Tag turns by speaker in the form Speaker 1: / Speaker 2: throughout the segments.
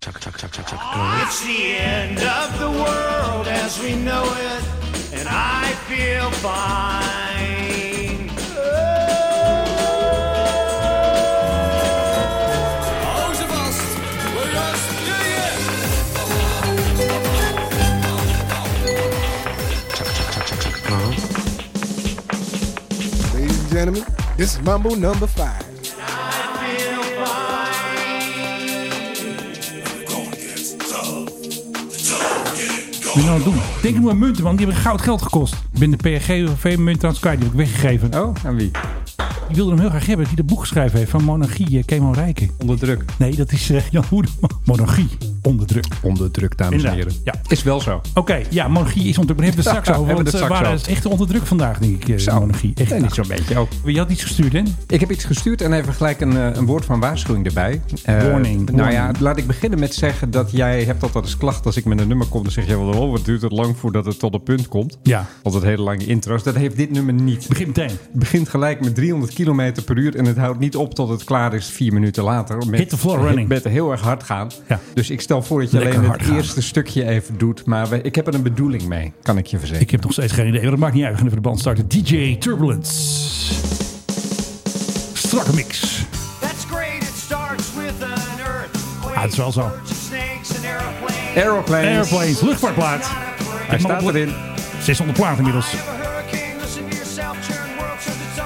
Speaker 1: Chuck, chuck, chuck, chuck, chuck.
Speaker 2: It's the end of the world as we know it, and I feel fine.
Speaker 3: Hou ze vast. Wil je springen?
Speaker 1: Chuck, chuck, chuck, chuck, chuck. Uh-huh.
Speaker 4: Ladies and gentlemen, this is Mumble number five.
Speaker 5: Moet je nou doen? Denk nu aan munten, man. Die hebben goud geld gekost. Ik ben de PRG munt aan het kwijt. Die heb ik weggegeven.
Speaker 6: Oh, aan wie?
Speaker 5: Die wilde hem heel graag hebben. Die dat boek geschreven heeft van Monarchie eh, Kemo Rijken.
Speaker 6: Onder druk.
Speaker 5: Nee, dat is eh, Jan Hoedeman. Monarchie. Onder druk.
Speaker 6: Onder druk, dames en heren.
Speaker 5: Inderdaad, ja.
Speaker 6: Is wel zo.
Speaker 5: Oké, ja, monarchie is onder druk. Daar hebben we het straks over.
Speaker 6: Hebben we
Speaker 5: Want
Speaker 6: het
Speaker 5: we
Speaker 6: straks
Speaker 5: waren
Speaker 6: over.
Speaker 5: echt onder druk vandaag, denk ik. eh,
Speaker 6: Zo.
Speaker 5: Monarchie. Echt.
Speaker 6: Nee, niet zo'n beetje. ook.
Speaker 5: Je had iets gestuurd, hè?
Speaker 6: Ik heb iets gestuurd en even gelijk een, eh, een woord van waarschuwing erbij. Eh,
Speaker 5: Warning,
Speaker 6: Nou ja,
Speaker 5: warning.
Speaker 6: laat ik beginnen met zeggen dat jij hebt altijd eens klacht als ik met een nummer kom. Dan zeg je wel, oh, wat duurt het lang voordat het tot een punt komt.
Speaker 5: Ja.
Speaker 6: Altijd hele lange intro's. Dat heeft dit nummer niet.
Speaker 5: Begin meteen.
Speaker 6: Het begint gelijk met 300 km per uur en het houdt niet op tot het klaar is vier minuten later. Met,
Speaker 5: Hit the floor running.
Speaker 6: Met heel erg hard gaan.
Speaker 5: Ja.
Speaker 6: Dus ik stel voor dat je
Speaker 5: Lekker
Speaker 6: alleen
Speaker 5: hard
Speaker 6: het
Speaker 5: gaan.
Speaker 6: eerste stukje even doet. Maar we- ik heb er een bedoeling mee, kan ik je verzekeren.
Speaker 5: Ik heb nog steeds geen idee, maar dat maakt niet uit. We gaan even de band starten. DJ Turbulence. Strakke mix.
Speaker 2: That's great, it starts with an earthquake.
Speaker 5: Ah, het is wel zo.
Speaker 2: Birds and snakes and airplanes.
Speaker 6: Airplanes.
Speaker 5: Airplanes, luchtvaartplaat.
Speaker 6: Hij
Speaker 5: Ik mag
Speaker 6: staat
Speaker 5: op-
Speaker 6: erin.
Speaker 5: 600 plaat inmiddels.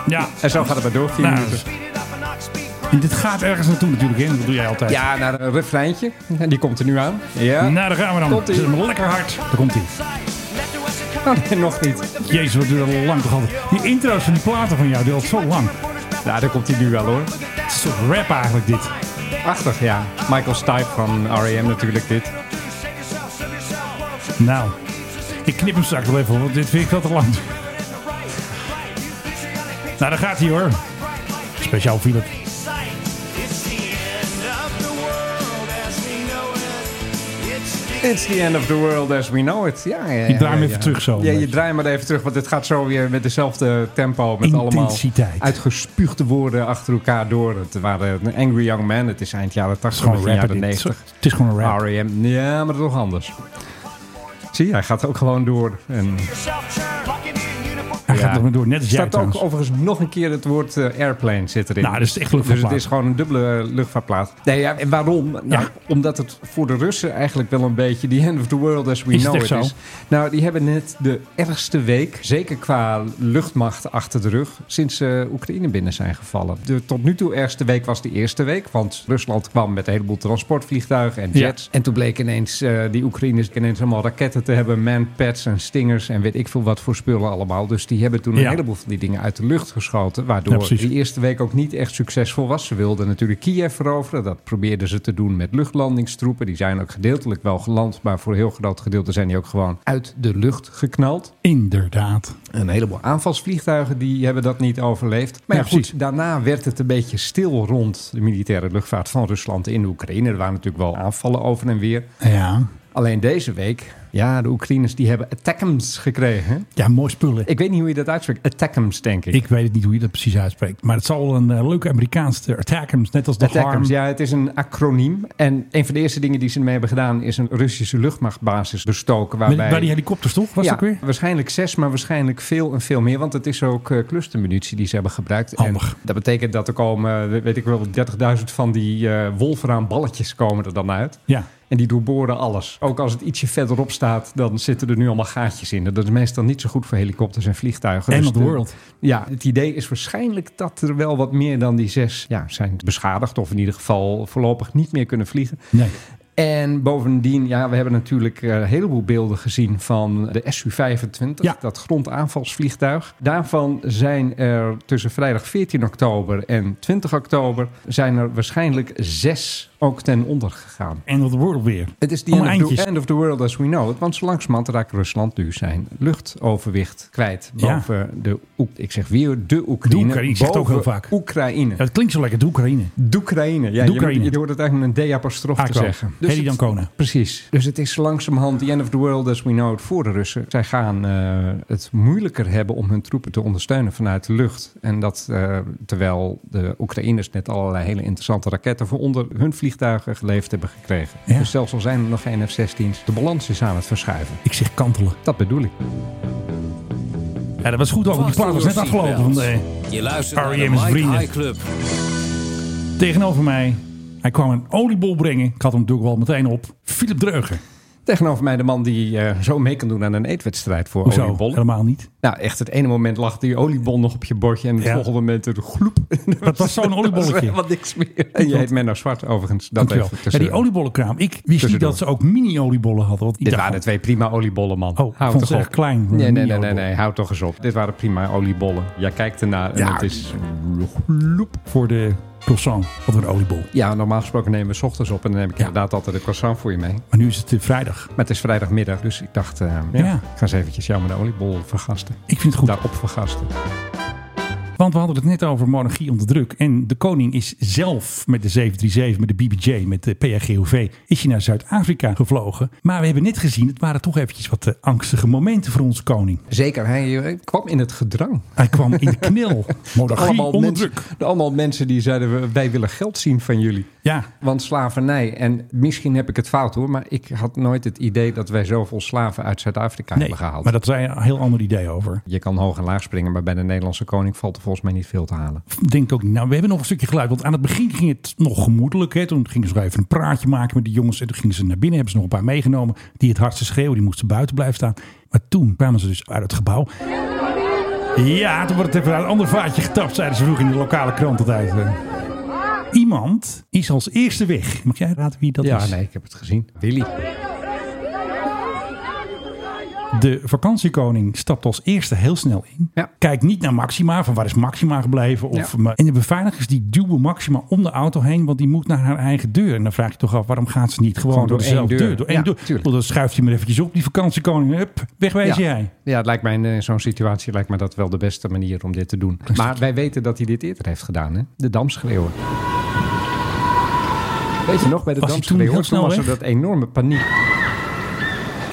Speaker 5: Ja.
Speaker 6: En zo gaat het maar door, vier
Speaker 5: Nou,
Speaker 6: minuten.
Speaker 5: En dit gaat ergens naartoe natuurlijk, hè? Dat doe jij altijd.
Speaker 6: Ja, naar een refreintje. En die komt er nu aan. Ja.
Speaker 5: Nou, daar gaan we dan.
Speaker 6: Komt-ie.
Speaker 5: Zet hem lekker hard. Daar komt hij.
Speaker 6: Oh, nee, nog niet.
Speaker 5: Jezus, wat duurt dat lang toch altijd. Die intro's van die platen van jou, die duurt zo lang.
Speaker 6: Nou, daar komt hij nu wel hoor.
Speaker 5: Het is een soort rap eigenlijk, dit.
Speaker 6: Prachtig, ja. Michael Stipe van R.E.M. natuurlijk dit.
Speaker 5: Nou, ik knip hem straks wel even, want dit vind ik wel te lang. Nou, daar gaat hij hoor. Speciaal Philip.
Speaker 6: It's the end of the world as we know it. Ja, ja, ja,
Speaker 5: draai hem
Speaker 6: ja,
Speaker 5: even
Speaker 6: ja.
Speaker 5: terug zo.
Speaker 6: Ja, je draait maar even terug, want het gaat zo weer met dezelfde tempo. Met
Speaker 5: Intensiteit.
Speaker 6: allemaal uitgespuugde woorden achter elkaar door. Het waren een Angry Young Man. Het is eind jaren 80,
Speaker 5: Het is gewoon
Speaker 6: begin
Speaker 5: een rapper
Speaker 6: jaren
Speaker 5: dit.
Speaker 6: 90.
Speaker 5: Het is gewoon een rap.
Speaker 6: R.E.M. Ja, maar toch anders. Zie je, hij gaat ook gewoon door. En
Speaker 5: Hij
Speaker 6: Ja.
Speaker 5: gaat nog maar door, net als
Speaker 6: Er
Speaker 5: jij
Speaker 6: staat ook
Speaker 5: trouwens.
Speaker 6: overigens nog een keer het woord eh, airplane zit erin.
Speaker 5: Nou, dat is echt
Speaker 6: Dus
Speaker 5: luchtvaartplaat.
Speaker 6: het is gewoon een dubbele eh, luchtvaartplaat. Nee, ja, en waarom? Nou, omdat het voor de Russen eigenlijk wel een beetje the end of the world as we
Speaker 5: Is het
Speaker 6: know
Speaker 5: echt
Speaker 6: it
Speaker 5: zo?
Speaker 6: is. Nou, die hebben net de ergste week, zeker qua luchtmacht achter de rug, sinds eh, Oekraïne binnen zijn gevallen. De tot nu toe ergste week was de eerste week, want Rusland kwam met een heleboel transportvliegtuigen en
Speaker 5: Ja.
Speaker 6: jets. En toen bleek ineens eh, die Oekraïners ineens allemaal raketten te hebben, manpads en stingers en weet ik veel wat voor spullen allemaal. Dus die hebben toen een
Speaker 5: Ja.
Speaker 6: heleboel van die dingen uit de lucht geschoten, waardoor
Speaker 5: Ja,
Speaker 6: door
Speaker 5: precies.
Speaker 6: die eerste week ook niet echt succesvol was. Ze wilden natuurlijk Kiev veroveren. Dat probeerden ze te doen met luchtlandingstroepen. Die zijn ook gedeeltelijk wel geland, maar voor een heel groot gedeelte zijn die ook gewoon uit de lucht geknald.
Speaker 5: Inderdaad.
Speaker 6: Een heleboel aanvalsvliegtuigen die hebben dat niet overleefd. Maar ja,
Speaker 5: Ja,
Speaker 6: goed,
Speaker 5: precies.
Speaker 6: daarna werd het een beetje stil rond de militaire luchtvaart van Rusland in de Oekraïne. Er waren natuurlijk wel aanvallen over en weer.
Speaker 5: Ja.
Speaker 6: Alleen deze week, ja, de Oekraïners die hebben attackums gekregen.
Speaker 5: Ja, mooi spullen.
Speaker 6: Ik weet niet hoe je dat uitspreekt. Attackums, denk ik.
Speaker 5: Ik weet het niet hoe je dat precies uitspreekt. Maar het zal wel een eh, leuke Amerikaanse attackums, net als de
Speaker 6: Attackums,
Speaker 5: harm.
Speaker 6: ja, het is een acroniem. En een van de eerste dingen die ze ermee hebben gedaan is een Russische luchtmachtbasis bestoken.
Speaker 5: Met,
Speaker 6: Waarbij,
Speaker 5: bij die helikopters toch, was
Speaker 6: ja,
Speaker 5: dat weer?
Speaker 6: waarschijnlijk zes, maar waarschijnlijk veel en veel meer. Want het is ook eh, clustermunitie die ze hebben gebruikt.
Speaker 5: Handig.
Speaker 6: En dat betekent dat er komen, eh, weet ik wel, 30.000 van die eh wolfraam balletjes komen er dan uit.
Speaker 5: Ja.
Speaker 6: En die doorboren alles. Ook als het ietsje verderop staat, dan zitten er nu allemaal gaatjes in. Dat is meestal niet zo goed voor helikopters en vliegtuigen.
Speaker 5: End
Speaker 6: Dus
Speaker 5: of the
Speaker 6: de-
Speaker 5: world.
Speaker 6: ja, het idee is waarschijnlijk dat er wel wat meer dan die zes ja, zijn beschadigd. Of in ieder geval voorlopig niet meer kunnen vliegen.
Speaker 5: Nee.
Speaker 6: En bovendien, ja, we hebben natuurlijk eh, een heleboel beelden gezien van de SU-25,
Speaker 5: Ja.
Speaker 6: dat grondaanvalsvliegtuig. Daarvan zijn er tussen vrijdag 14 oktober en 20 oktober zijn er waarschijnlijk zes ook ten onder gegaan.
Speaker 5: End of the world weer.
Speaker 6: Het is the
Speaker 5: Allemaal
Speaker 6: end of, the,
Speaker 5: eindjes.
Speaker 6: end of the world as we know it. Want zo langzamerhand raakt Rusland nu zijn luchtoverwicht kwijt.
Speaker 5: Ja.
Speaker 6: Boven de Oek. Ik zeg weer de Oekraïne.
Speaker 5: De Oekraïne, ik zeg het ook heel
Speaker 6: boven
Speaker 5: vaak.
Speaker 6: Oekraïne.
Speaker 5: Ja, het klinkt zo lekker, de Oekraïne.
Speaker 6: De Oekraïne. Ja,
Speaker 5: Oekraïne.
Speaker 6: Je, je hoort het eigenlijk met een D-apostrof te
Speaker 5: Akko.
Speaker 6: zeggen. Dus
Speaker 5: Hedy
Speaker 6: het-
Speaker 5: Dancona.
Speaker 6: Precies. Dus het is langzamerhand the end of the world as we know it voor de Russen. Zij gaan eh, het moeilijker hebben om hun troepen te ondersteunen vanuit de lucht. En dat eh, terwijl de Oekraïners net allerlei hele interessante raketten voor onder hun vliegtuigen geleverd hebben gekregen.
Speaker 5: Ja.
Speaker 6: Dus zelfs al zijn er nog geen F-16's, de balans is aan het verschuiven.
Speaker 5: Ik zeg kantelen.
Speaker 6: Dat bedoel ik.
Speaker 5: Ja, dat was goed ook. want Die plaat was net afgelopen. want, eh, E
Speaker 3: Je luistert naar de
Speaker 5: R.E.M. is
Speaker 3: Mike
Speaker 5: vrienden.
Speaker 3: High Club.
Speaker 5: tegenover mij, hij kwam een oliebol brengen. Ik had hem natuurlijk wel meteen op. Philip Dreuger.
Speaker 6: Tegenover mij de man die eh, zo mee kan doen aan een eetwedstrijd voor
Speaker 5: Hoezo?
Speaker 6: oliebollen.
Speaker 5: Helemaal niet.
Speaker 6: Nou, echt het ene moment lag die oliebol nog op je bordje en het
Speaker 5: Ja.
Speaker 6: volgende moment een gloep.
Speaker 5: Dat was zo'n oliebolletje.
Speaker 6: Helemaal niks meer. En je heet Menno Zwart overigens. Dat
Speaker 5: Dankjewel.
Speaker 6: even
Speaker 5: Ja,
Speaker 6: tussen-
Speaker 5: die oliebollenkraam. Ik wist niet
Speaker 6: tussendoor.
Speaker 5: dat ze ook mini-oliebollen hadden. Want ik
Speaker 6: Dit
Speaker 5: dacht
Speaker 6: waren
Speaker 5: van-
Speaker 6: twee prima oliebollen, man.
Speaker 5: Oh, ik
Speaker 6: Houd
Speaker 5: vond
Speaker 6: toch
Speaker 5: ze
Speaker 6: op.
Speaker 5: echt klein.
Speaker 6: Nee, nee, nee, nee,
Speaker 5: Mini-oliebollen.
Speaker 6: nee, houd toch eens op. Dit waren prima oliebollen. Jij kijkt ernaar en
Speaker 5: Ja.
Speaker 6: het is...
Speaker 5: Loep voor de croissant. Wat een oliebol.
Speaker 6: Ja, normaal gesproken nemen we 's ochtends op en dan neem ik
Speaker 5: Ja.
Speaker 6: inderdaad altijd een croissant voor je mee.
Speaker 5: Maar nu is het eh, vrijdag.
Speaker 6: Maar het is vrijdagmiddag, dus ik dacht, eh, ja,
Speaker 5: Ja.
Speaker 6: ik ga eens eventjes jou met de oliebol vergasten.
Speaker 5: Ik vind het goed.
Speaker 6: Daarop vergasten.
Speaker 5: Want we hadden het net over monarchie onder druk. En de koning is zelf met de 737, met de BBJ, met de PHGOV, is hij naar Zuid-Afrika gevlogen. Maar we hebben net gezien, het waren toch eventjes wat eh, angstige momenten voor onze koning.
Speaker 6: Zeker, hij eh, kwam in het gedrang.
Speaker 5: Hij kwam in de knel. Monarchie onder
Speaker 6: mensen,
Speaker 5: druk.
Speaker 6: allemaal mensen die zeiden, we- wij willen geld zien van jullie.
Speaker 5: Ja,
Speaker 6: Want slavernij, en misschien heb ik het fout hoor, maar ik had nooit het idee dat wij zoveel slaven uit Zuid-Afrika
Speaker 5: nee,
Speaker 6: hebben gehaald.
Speaker 5: maar dat zei een heel ander idee over.
Speaker 6: Je kan hoog en laag springen, maar bij de Nederlandse koning valt er volgens mij niet veel te halen.
Speaker 5: Denk ook niet. Nou, we hebben nog een stukje geluid. Want aan het begin ging het nog gemoedelijk. Hè. Toen gingen ze nog even een praatje maken met de jongens. En toen gingen ze naar binnen. Hebben ze nog een paar meegenomen. Die het hardste schreeuwen. Die moesten buiten blijven staan. Maar toen kwamen ze dus uit het gebouw. Ja, toen wordt het even uit een ander vaatje getapt. Zeiden ze vroeg in de lokale krant het uit. hè. Iemand is als eerste weg. Mag jij raden wie dat
Speaker 6: ja,
Speaker 5: is?
Speaker 6: nee, ik heb het gezien. Willy.
Speaker 5: De vakantiekoning stapt als eerste heel snel in.
Speaker 6: Ja.
Speaker 5: Kijkt niet naar Maxima, van waar is Maxima gebleven. Of,
Speaker 6: Ja.
Speaker 5: maar- En de beveiligers die duwen Maxima om de auto heen, want die moet naar haar eigen deur. En dan vraag je toch af, waarom gaat ze niet gewoon,
Speaker 6: Gewoon
Speaker 5: door,
Speaker 6: door één
Speaker 5: dezelfde
Speaker 6: deur.
Speaker 5: deur? Door één
Speaker 6: Ja,
Speaker 5: deur.
Speaker 6: tuurlijk.
Speaker 5: Want dan schuift hij maar eventjes op, die vakantiekoning. Hup, wegwezen jij.
Speaker 6: ja, het lijkt mij in eh, zo'n situatie lijkt mij dat wel de beste manier om dit te doen. Maar wij weten dat hij dit eerder heeft gedaan, hè? De damschreeuwen. Weet je nog, bij de
Speaker 5: Was hij toen
Speaker 6: damschreeuwen,
Speaker 5: heel
Speaker 6: toen
Speaker 5: snel
Speaker 6: was er
Speaker 5: weg?
Speaker 6: dat enorme paniek.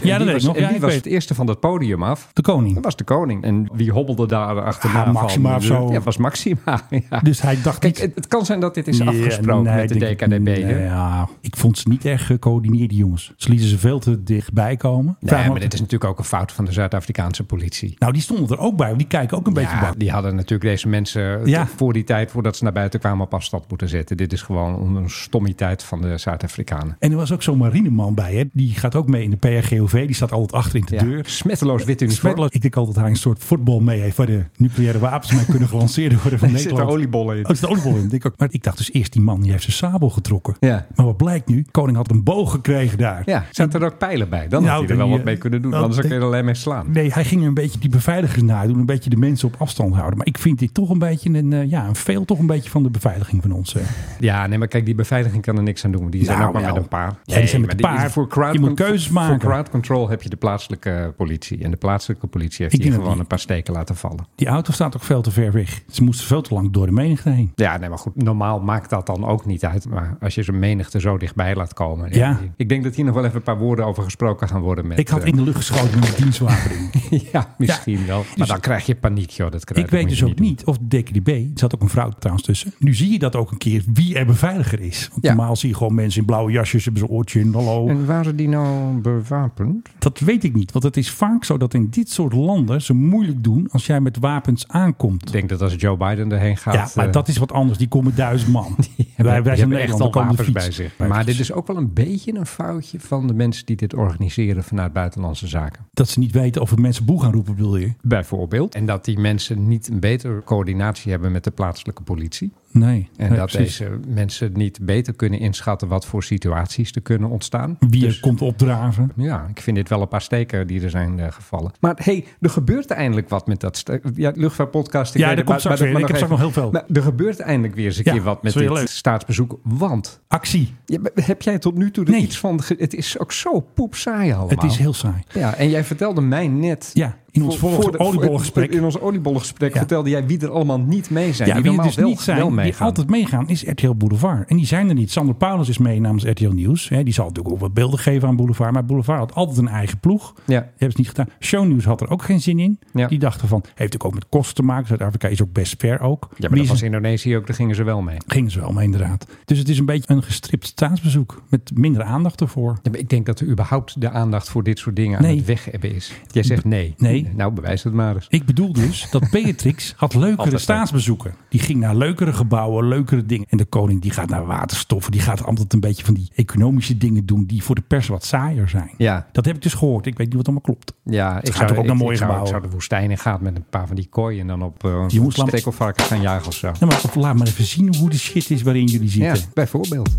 Speaker 5: Ja, dat weet ik
Speaker 6: was,
Speaker 5: nog.
Speaker 6: en
Speaker 5: Ja,
Speaker 6: wie
Speaker 5: ik
Speaker 6: was
Speaker 5: weet
Speaker 6: het eerste van dat podium af?
Speaker 5: De koning.
Speaker 6: Dat was de koning. En wie hobbelde daar achterna?
Speaker 5: Ah,
Speaker 6: van?
Speaker 5: Maxima of zo.
Speaker 6: Ja, het was Maxima. ja.
Speaker 5: Dus hij dacht
Speaker 6: Kijk,
Speaker 5: niet...
Speaker 6: het, het kan zijn dat dit is
Speaker 5: Ja,
Speaker 6: afgesproken
Speaker 5: nee,
Speaker 6: met de
Speaker 5: denk ik-
Speaker 6: DKDB. hè?
Speaker 5: nee, ja, ik vond ze niet erg gecoördineerd, die jongens. Ze lieten ze veel te dichtbij komen. Vraag me
Speaker 6: Nee, maar
Speaker 5: af-
Speaker 6: dit is natuurlijk ook een fout van de Zuid-Afrikaanse politie.
Speaker 5: Nou, die stonden er ook bij, want die kijken ook een beetje
Speaker 6: Ja,
Speaker 5: bang.
Speaker 6: die hadden natuurlijk deze mensen eh,
Speaker 5: Ja.
Speaker 6: voor die tijd, voordat ze naar buiten kwamen, op afstand moeten zetten. Dit is gewoon een stommiteit van de Zuid-Afrikanen.
Speaker 5: En er was ook zo'n marineman bij, hè? die gaat ook mee in de PRGOV. Die staat altijd achter in de
Speaker 6: Ja.
Speaker 5: deur.
Speaker 6: Smetteloos wit uniform.
Speaker 5: Smetloos. Ik denk altijd dat hij een soort voetbal mee heeft... waar de nucleaire wapens mee kunnen gelanceerd worden van
Speaker 6: Er zitten
Speaker 5: Nederland.
Speaker 6: oliebollen in.
Speaker 5: Oh, er zitten oliebollen in. Denk ik ook. Maar ik dacht dus eerst, die man die heeft zijn sabel getrokken.
Speaker 6: Ja.
Speaker 5: Maar wat blijkt nu? Koning had een boog gekregen daar.
Speaker 6: Ja, zaten er ook pijlen bij. Dan
Speaker 5: Nou,
Speaker 6: had hij er wel
Speaker 5: die,
Speaker 6: wat mee
Speaker 5: eh,
Speaker 6: kunnen doen.
Speaker 5: dat
Speaker 6: Anders kun je
Speaker 5: denk-
Speaker 6: er alleen mee slaan.
Speaker 5: Nee, hij ging een beetje die beveiligers nadoen. Een beetje de mensen op afstand houden. Maar ik vind dit toch een beetje een... eh, ja, een veel toch een beetje van de beveiliging van ons. eh.
Speaker 6: Ja, nee, maar kijk, die beveiliging kan er niks aan doen. Die zijn
Speaker 5: Nou,
Speaker 6: ook maar
Speaker 5: wel.
Speaker 6: met een paar.
Speaker 5: Ja, die zijn met
Speaker 6: maar
Speaker 5: een paar.
Speaker 6: Voor crowd
Speaker 5: Je moet
Speaker 6: con-
Speaker 5: keuzes maken.
Speaker 6: Voor crowd control heb je de plaatselijke politie. En de plaatselijke politie heeft
Speaker 5: Ik denk
Speaker 6: hier
Speaker 5: dat
Speaker 6: gewoon
Speaker 5: die-
Speaker 6: een paar steken laten vallen.
Speaker 5: Die auto staat ook veel te ver weg. Ze moesten veel te lang door de menigte heen.
Speaker 6: Ja, nee, maar goed. Normaal maakt dat dan ook niet uit. Maar als je zo'n menigte zo dichtbij laat komen.
Speaker 5: Ja.
Speaker 6: Ik denk dat hier nog wel even een paar woorden over gesproken gaan worden. Met,
Speaker 5: Ik had
Speaker 6: eh,
Speaker 5: in de lucht geschoten met een dienstwapen. denk ik.
Speaker 6: ja, misschien
Speaker 5: Ja.
Speaker 6: wel. Maar
Speaker 5: Dus-
Speaker 6: dan krijg je paniek, joh. Dat krijg
Speaker 5: Ik weet
Speaker 6: moet
Speaker 5: dus
Speaker 6: je
Speaker 5: ook niet of de DKDB, er zat ook een vrouw trouwens tussen. Nu zie je dat ook een keer, wie er beveiliger is. Want
Speaker 6: Ja.
Speaker 5: normaal zie je gewoon mensen in blauwe jasjes, hebben ze een oortje in, hallo.
Speaker 6: doen. En waren die nou bewapend?
Speaker 5: Dat weet ik niet, want het is vaak zo dat in dit soort landen ze moeilijk doen als jij met wapens aankomt.
Speaker 6: Ik denk dat als Joe Biden erheen gaat...
Speaker 5: Ja, maar
Speaker 6: eh,
Speaker 5: dat is wat anders. Die komen duizend man.
Speaker 6: die
Speaker 5: wij, wij
Speaker 6: hebben
Speaker 5: zijn
Speaker 6: echt
Speaker 5: Nederland,
Speaker 6: al
Speaker 5: we komen de
Speaker 6: wapens
Speaker 5: fiets.
Speaker 6: bij zich. Maar dit is ook wel een beetje een foutje van de mensen die dit organiseren vanuit buitenlandse zaken.
Speaker 5: Dat ze niet weten of we mensen boe gaan roepen, bedoel je?
Speaker 6: Bijvoorbeeld. En dat die mensen niet een betere coördinatie hebben met de plaatselijke politie.
Speaker 5: Nee.
Speaker 6: En
Speaker 5: Nee,
Speaker 6: dat
Speaker 5: precies.
Speaker 6: deze mensen niet beter kunnen inschatten wat voor situaties er kunnen ontstaan.
Speaker 5: Wie
Speaker 6: Dus,
Speaker 5: er komt opdraven.
Speaker 6: ja, ik vind dit wel een paar steken die er zijn eh, gevallen. Maar hey, er gebeurt eindelijk wat met dat... sta- Ja, luchtvaartpodcast. ik
Speaker 5: Ja,
Speaker 6: weet
Speaker 5: er
Speaker 6: het,
Speaker 5: komt straks weer. Ik heb
Speaker 6: nog
Speaker 5: straks nog heel veel.
Speaker 6: Maar er gebeurt eindelijk weer eens een
Speaker 5: Ja,
Speaker 6: keer wat met
Speaker 5: is weer
Speaker 6: dit
Speaker 5: leuk.
Speaker 6: staatsbezoek. Want,
Speaker 5: Actie.
Speaker 6: ja, maar heb jij tot nu toe er
Speaker 5: Nee.
Speaker 6: iets van... ge- Het is ook zo poepsaai allemaal.
Speaker 5: Het is heel saai.
Speaker 6: Ja, en jij vertelde mij net
Speaker 5: Ja. In ons
Speaker 6: Voor- voor
Speaker 5: vorige
Speaker 6: de-
Speaker 5: oliebollengesprek.
Speaker 6: In ons oliebollengesprek
Speaker 5: Ja.
Speaker 6: vertelde jij wie er allemaal niet mee zijn.
Speaker 5: Ja,
Speaker 6: die
Speaker 5: wie er
Speaker 6: normaal
Speaker 5: dus
Speaker 6: wel,
Speaker 5: niet
Speaker 6: wel
Speaker 5: zijn, die
Speaker 6: meegaan.
Speaker 5: altijd meegaan, is RTL Boulevard. En die zijn er niet. Sander Paulus is mee namens RTL Nieuws. Hè, die zal natuurlijk ook wat beelden geven aan Boulevard. Maar Boulevard had altijd een eigen ploeg.
Speaker 6: Ja.
Speaker 5: Die hebben ze niet gedaan. Shownieuws had er ook geen zin in.
Speaker 6: Ja.
Speaker 5: Die dachten van, heeft natuurlijk ook met kosten te maken. Zuid-Afrika is ook best ver ook.
Speaker 6: Ja,
Speaker 5: Die
Speaker 6: maar dat
Speaker 5: is-
Speaker 6: was Indonesië ook, daar gingen ze wel mee.
Speaker 5: Gingen ze wel mee inderdaad. Dus het is een beetje een gestript staatsbezoek. Met minder aandacht ervoor.
Speaker 6: Ja, maar ik denk dat er überhaupt de aandacht voor dit soort dingen aan
Speaker 5: Nee.
Speaker 6: het weg hebben is. Jij zegt nee.
Speaker 5: Nee.
Speaker 6: Nou, bewijs het maar eens.
Speaker 5: Ik bedoel dus dat Beatrix had leukere
Speaker 6: Altijd.
Speaker 5: staatsbezoeken. Die ging naar leukere gebouwen, leukere dingen. En de koning die gaat naar waterstoffen. Die gaat altijd een beetje van die economische dingen doen die voor de pers wat saaier zijn.
Speaker 6: Ja.
Speaker 5: Dat heb ik dus gehoord. Ik weet niet wat allemaal klopt.
Speaker 6: Ja, ik
Speaker 5: gaat
Speaker 6: zou,
Speaker 5: toch ook
Speaker 6: ik,
Speaker 5: naar mooie
Speaker 6: ik zou, ik
Speaker 5: gebouwen?
Speaker 6: zou de woestijn in gaan met een paar van die kooien en dan op eh,
Speaker 5: Die
Speaker 6: een
Speaker 5: moeslam-
Speaker 6: stekelvarken gaan jagen of zo.
Speaker 5: Nou, maar laat maar even zien hoe de shit is waarin jullie
Speaker 6: Ja,
Speaker 5: zitten.
Speaker 6: bijvoorbeeld.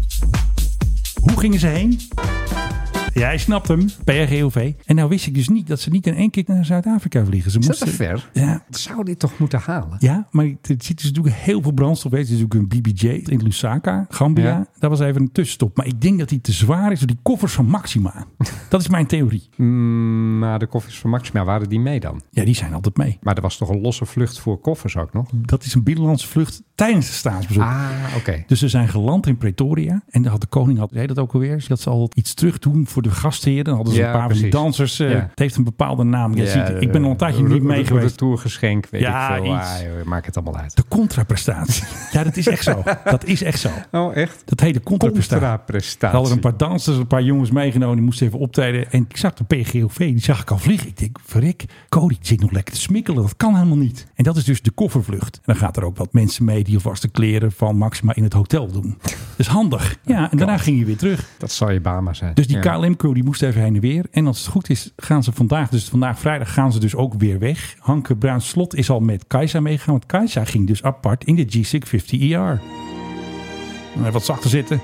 Speaker 5: Hoe gingen ze heen? Jij snapt hem, PRGOV. En nou wist ik dus niet dat ze niet in één keer naar Zuid-Afrika vliegen. Ze
Speaker 6: Is dat te
Speaker 5: moesten...
Speaker 6: ver?
Speaker 5: Ja,
Speaker 6: Zou dit toch moeten halen?
Speaker 5: Ja, maar het het zit dus natuurlijk heel veel brandstof. in. Het is natuurlijk een BBJ in Lusaka, Gambia.
Speaker 6: Ja.
Speaker 5: Daar was even een tussenstop. Maar ik denk dat die te zwaar is door die koffers van Maxima. Dat is mijn theorie.
Speaker 6: Mm, maar de koffers van Maxima waren die mee dan.
Speaker 5: Ja, die zijn altijd mee.
Speaker 6: Maar er was toch een losse vlucht voor koffers ook nog?
Speaker 5: Dat is een binnenlandse vlucht tijdens de staatsbezoek.
Speaker 6: Ah, oké.
Speaker 5: Dus ze zijn geland in Pretoria. En daar had de koning, had, zei dat ook alweer, dat ze al iets terug doen voor de gastheren. Dan hadden ze
Speaker 6: Ja,
Speaker 5: een paar van
Speaker 6: precies.
Speaker 5: die dansers. eh,
Speaker 6: Ja.
Speaker 5: Het heeft een bepaalde naam. Je ziet, ik ben al een tijdje
Speaker 6: eh,
Speaker 5: niet
Speaker 6: een
Speaker 5: mee geweest.
Speaker 6: Retourgeschenk, weet
Speaker 5: Ja,
Speaker 6: ik veel.
Speaker 5: iets.
Speaker 6: Ah, joh, maakt het allemaal uit.
Speaker 5: De contraprestatie. Ja, dat is echt zo. Dat is echt zo.
Speaker 6: Oh, echt?
Speaker 5: Dat hele contraprestatie.
Speaker 6: Contraprestatie.
Speaker 5: Er hadden een paar dansers, een paar jongens meegenomen. Die moesten even optreden. En ik zag de PGOV, die zag ik al vliegen. Ik denk, verrik, Cody zit nog lekker te smikkelen. Dat kan helemaal niet. En dat is dus de koffervlucht. En dan gaat er ook wat mensen mee die alvast de kleren van Maxima in het hotel doen. Dat is handig. Ja, en daarna ging je weer terug.
Speaker 6: Dat zou je Bama zijn.
Speaker 5: Dus die
Speaker 6: Ja.
Speaker 5: KLM-crew die moest even heen en weer. En als het goed is, gaan ze vandaag, dus vandaag vrijdag, gaan ze dus ook weer weg. Hanke Bruins Slot is al met Kajsa meegegaan. Want Kajsa ging dus apart in de G650ER. Even E Eh, wat zachter zitten.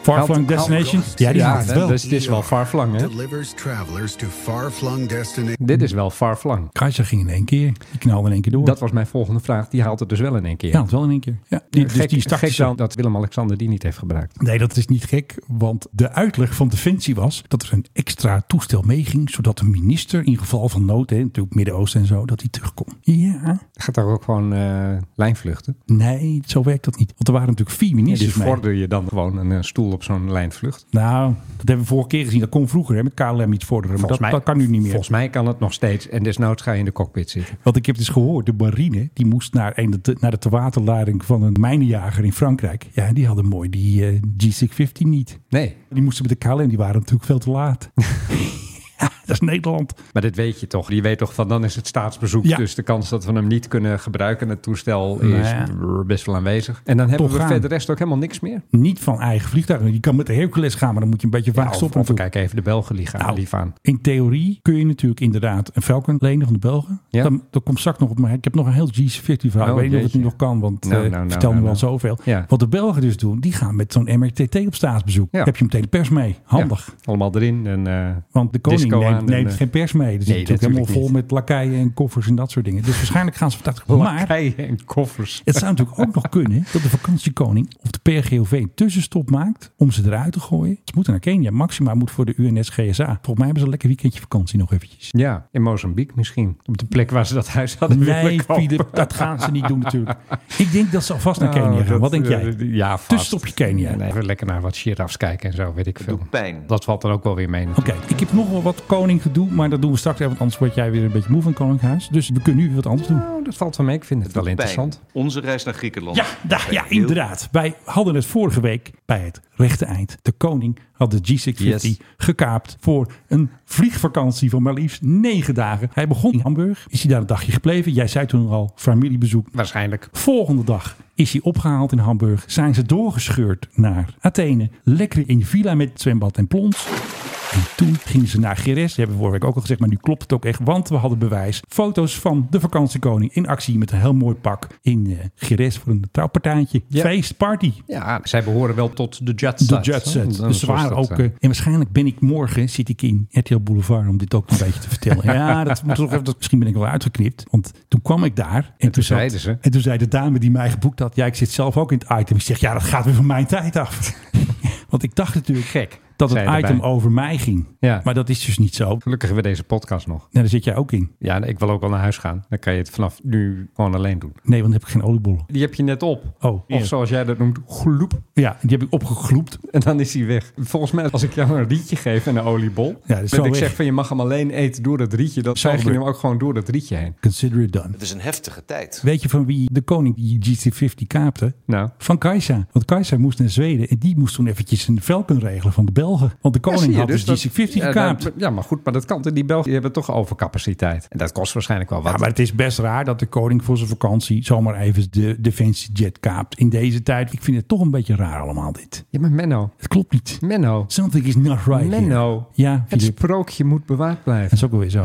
Speaker 5: Farflung
Speaker 6: Haalt-
Speaker 5: Destination.
Speaker 7: haalt-
Speaker 5: Ja, die
Speaker 6: Ja,
Speaker 5: haalt het wel.
Speaker 6: dat, is, dit is wel farflang, hè?
Speaker 7: delivers travelers to far-flung destinations.
Speaker 6: Dit is wel farflang.
Speaker 5: Kajsa ging in één keer. Die knalde in één keer door.
Speaker 6: Dat was mijn volgende vraag. Die haalt het dus wel in één keer.
Speaker 5: ja, dat wel in één keer. Ja, die, dus
Speaker 6: gek,
Speaker 5: die stak
Speaker 6: gek
Speaker 5: ze-
Speaker 6: dan dat Willem-Alexander die niet heeft gebruikt.
Speaker 5: Nee, dat is niet gek. Want de uitleg van Defensie was dat er een extra toestel meeging. Zodat de minister in geval van nood, hè, natuurlijk Midden-Oosten en zo, dat hij terugkomt. Ja.
Speaker 6: Gaat daar ook gewoon eh, lijnvluchten?
Speaker 5: Nee, zo werkt dat niet. Want er waren natuurlijk vier
Speaker 6: Ja,
Speaker 5: ministers
Speaker 6: dus
Speaker 5: mee.
Speaker 6: vorder je dan gewoon een, eh, stoel op zo'n lijnvlucht?
Speaker 5: Nou, dat hebben we vorige keer gezien. Dat kon vroeger hè, met KLM iets vorderen. Maar dat, dat kan nu niet meer.
Speaker 6: Volgens mij kan het nog steeds. En desnoods ga je in de cockpit zitten.
Speaker 5: Want ik heb dus gehoord, de marine die moest naar, een, naar de waterleiding van een mijnenjager in Frankrijk. Ja, die hadden mooi die eh, G650 niet.
Speaker 6: Nee,
Speaker 5: Die moesten met de KLM, die waren natuurlijk veel te laat. ja, dat is Nederland.
Speaker 6: maar dit weet je toch. Je weet toch van dan is het staatsbezoek.
Speaker 5: Ja.
Speaker 6: Dus de kans dat we hem niet kunnen gebruiken, het toestel, is
Speaker 5: Nee.
Speaker 6: brr, best wel aanwezig. En dan hebben
Speaker 5: Toch
Speaker 6: we
Speaker 5: gaan.
Speaker 6: verder rest ook helemaal niks meer.
Speaker 5: Niet van eigen vliegtuigen. Je kan met de Hercules gaan, maar dan moet je een beetje vaak
Speaker 6: Ja, of,
Speaker 5: stoppen.
Speaker 6: of we
Speaker 5: natuurlijk.
Speaker 6: kijken even de Belgen lief aan.
Speaker 5: Nou,
Speaker 6: lief aan.
Speaker 5: In theorie kun je natuurlijk inderdaad een Falcon lenen van de Belgen.
Speaker 6: Ja.
Speaker 5: Dan, dat komt straks nog op. Maar ik heb nog een heel G40 verhaal. ik weet niet of
Speaker 6: Oh,
Speaker 5: het nu
Speaker 6: jeetje.
Speaker 5: nog kan, want
Speaker 6: Nou,
Speaker 5: eh,
Speaker 6: nou,
Speaker 5: ik
Speaker 6: nou,
Speaker 5: vertel
Speaker 6: nou,
Speaker 5: nu al
Speaker 6: nou.
Speaker 5: zoveel.
Speaker 6: Ja.
Speaker 5: Wat de Belgen dus doen, die gaan met zo'n MRTT op staatsbezoek.
Speaker 6: Ja.
Speaker 5: Heb je meteen de pers mee. Handig.
Speaker 6: Ja, allemaal erin. En, eh,
Speaker 5: Want de koning
Speaker 6: Disco aan
Speaker 5: neemt,
Speaker 6: en,
Speaker 5: neemt
Speaker 6: eh,
Speaker 5: geen pers mee. Dus
Speaker 6: nee,
Speaker 5: nee, natuurlijk helemaal
Speaker 6: natuurlijk
Speaker 5: vol met lakijen en koffers en dat soort dingen. Dus waarschijnlijk gaan ze op dat. Maar
Speaker 6: Partijen en koffers.
Speaker 5: Het zou natuurlijk ook nog kunnen dat de vakantiekoning of de PRGOV een tussenstop maakt om ze eruit te gooien. Ze moeten naar Kenia. Maxima moet voor de UNSGSA. Volgens mij hebben ze een lekker weekendje vakantie nog eventjes.
Speaker 6: Ja, in Mozambique misschien. Op de plek waar ze dat huis hadden
Speaker 5: Nee,
Speaker 6: willen kopen.
Speaker 5: Philip, dat gaan ze niet doen natuurlijk. Ik denk dat ze alvast naar
Speaker 6: Oh,
Speaker 5: Kenia gaan.
Speaker 6: dat-
Speaker 5: Wat denk jij?
Speaker 6: eh, Ja, vast.
Speaker 5: Tussenstopje Kenia.
Speaker 6: Nee, even lekker naar wat giraffes kijken en zo, weet ik veel.
Speaker 8: pijn.
Speaker 6: Dat valt er ook wel weer mee.
Speaker 5: Oké, ik heb nog wel wat koninggedoe, maar dat doen we straks even, want anders word jij weer een beetje moe van Koninkhuis. Dus we kunnen nu wat anders doen.
Speaker 6: Nou, dat valt wel mee. Ik vind het wel interessant.
Speaker 8: Onze reis naar Griekenland.
Speaker 5: Ja, da- ja, inderdaad. Wij hadden het vorige week bij het rechte eind. De koning had de G650
Speaker 8: Yes.
Speaker 5: gekaapt voor een vliegvakantie van maar liefst negen dagen. Hij begon in Hamburg. Is hij daar een dagje gebleven? Jij zei toen al, familiebezoek.
Speaker 6: Waarschijnlijk.
Speaker 5: Volgende dag is hij opgehaald in Hamburg. Zijn ze doorgescheurd naar Athene. Lekker in villa met zwembad en plons. En toen gingen ze naar Geres. Dat hebben we vorige week ook al gezegd, maar nu klopt het ook echt. Want we hadden bewijs. Foto's van de vakantiekoning in actie met een heel mooi pak in eh Geres voor een trouwpartijtje.
Speaker 6: Ja.
Speaker 5: Feest, party.
Speaker 6: Ja, zij behoren wel tot de jet
Speaker 5: De
Speaker 6: set.
Speaker 5: jet
Speaker 6: hè?
Speaker 5: set.
Speaker 6: Dan
Speaker 5: Dus ze
Speaker 6: zoals
Speaker 5: waren
Speaker 6: dat,
Speaker 5: ook... eh,
Speaker 6: eh,
Speaker 5: en waarschijnlijk ben ik morgen, zit ik in RTL Boulevard om dit ook een beetje te vertellen. Ja, dat moet toch even, dat- misschien ben ik wel uitgeknipt. Want toen kwam ik daar. En, toen, zat-
Speaker 6: zeiden ze.
Speaker 5: En toen zei de dame die mij geboekt had, ja, ik zit zelf ook in het item. Ik zeg, ja, dat gaat weer van mijn tijd af. want ik dacht natuurlijk,
Speaker 6: Gek.
Speaker 5: dat het
Speaker 6: Zei je
Speaker 5: item
Speaker 6: erbij.
Speaker 5: over mij ging.
Speaker 6: Ja.
Speaker 5: Maar dat is dus niet zo. Nou,
Speaker 6: Gelukkig hebben we deze podcast nog.
Speaker 5: daar zit jij ook in.
Speaker 6: Ja, ik wil ook wel naar huis gaan. Dan kan je het vanaf nu gewoon alleen doen.
Speaker 5: Nee, want dan heb ik geen oliebollen.
Speaker 6: Die heb je net op.
Speaker 5: Oh,
Speaker 6: Of zoals jij dat noemt, gloep.
Speaker 5: Ja, die heb ik opgegloept.
Speaker 6: En dan is hij weg. Volgens mij, als ik jou een rietje geef en een oliebol.
Speaker 5: Ja, dat
Speaker 6: dat
Speaker 5: is wel
Speaker 6: ik
Speaker 5: weg.
Speaker 6: zeg van je mag hem alleen eten door dat rietje. Dan
Speaker 5: Zal
Speaker 6: zuig je hem
Speaker 5: gebeuren.
Speaker 6: ook gewoon door dat rietje heen.
Speaker 5: Consider it done.
Speaker 8: Het is een heftige tijd.
Speaker 5: Weet je van wie de koning die GT50 kaapte?
Speaker 6: Nou,
Speaker 5: Van Kajsa. Want Kajsa moest naar Zweden en die moest toen eventjes een velken regelen van de Belgen. Want de
Speaker 6: Ja, zie
Speaker 5: koning
Speaker 6: je
Speaker 5: had dus,
Speaker 6: dat-
Speaker 5: GT50
Speaker 6: ja,
Speaker 5: gekaapt.
Speaker 6: dat- Ja, maar goed, maar dat kan. Die Belgen die hebben toch overcapaciteit. En dat kost waarschijnlijk wel wat.
Speaker 5: Ja, maar het is best raar dat de koning voor zijn vakantie zomaar even de Defensiejet kaapt. In deze tijd, ik vind het toch een beetje raar allemaal dit.
Speaker 6: Ja, maar Menno.
Speaker 5: Het klopt niet.
Speaker 6: Menno.
Speaker 5: Something is not right here.
Speaker 6: Menno.
Speaker 5: Ja,
Speaker 6: Het
Speaker 5: Filip.
Speaker 6: sprookje moet bewaard
Speaker 5: Dat
Speaker 6: blijven.
Speaker 5: is ook wel weer zo.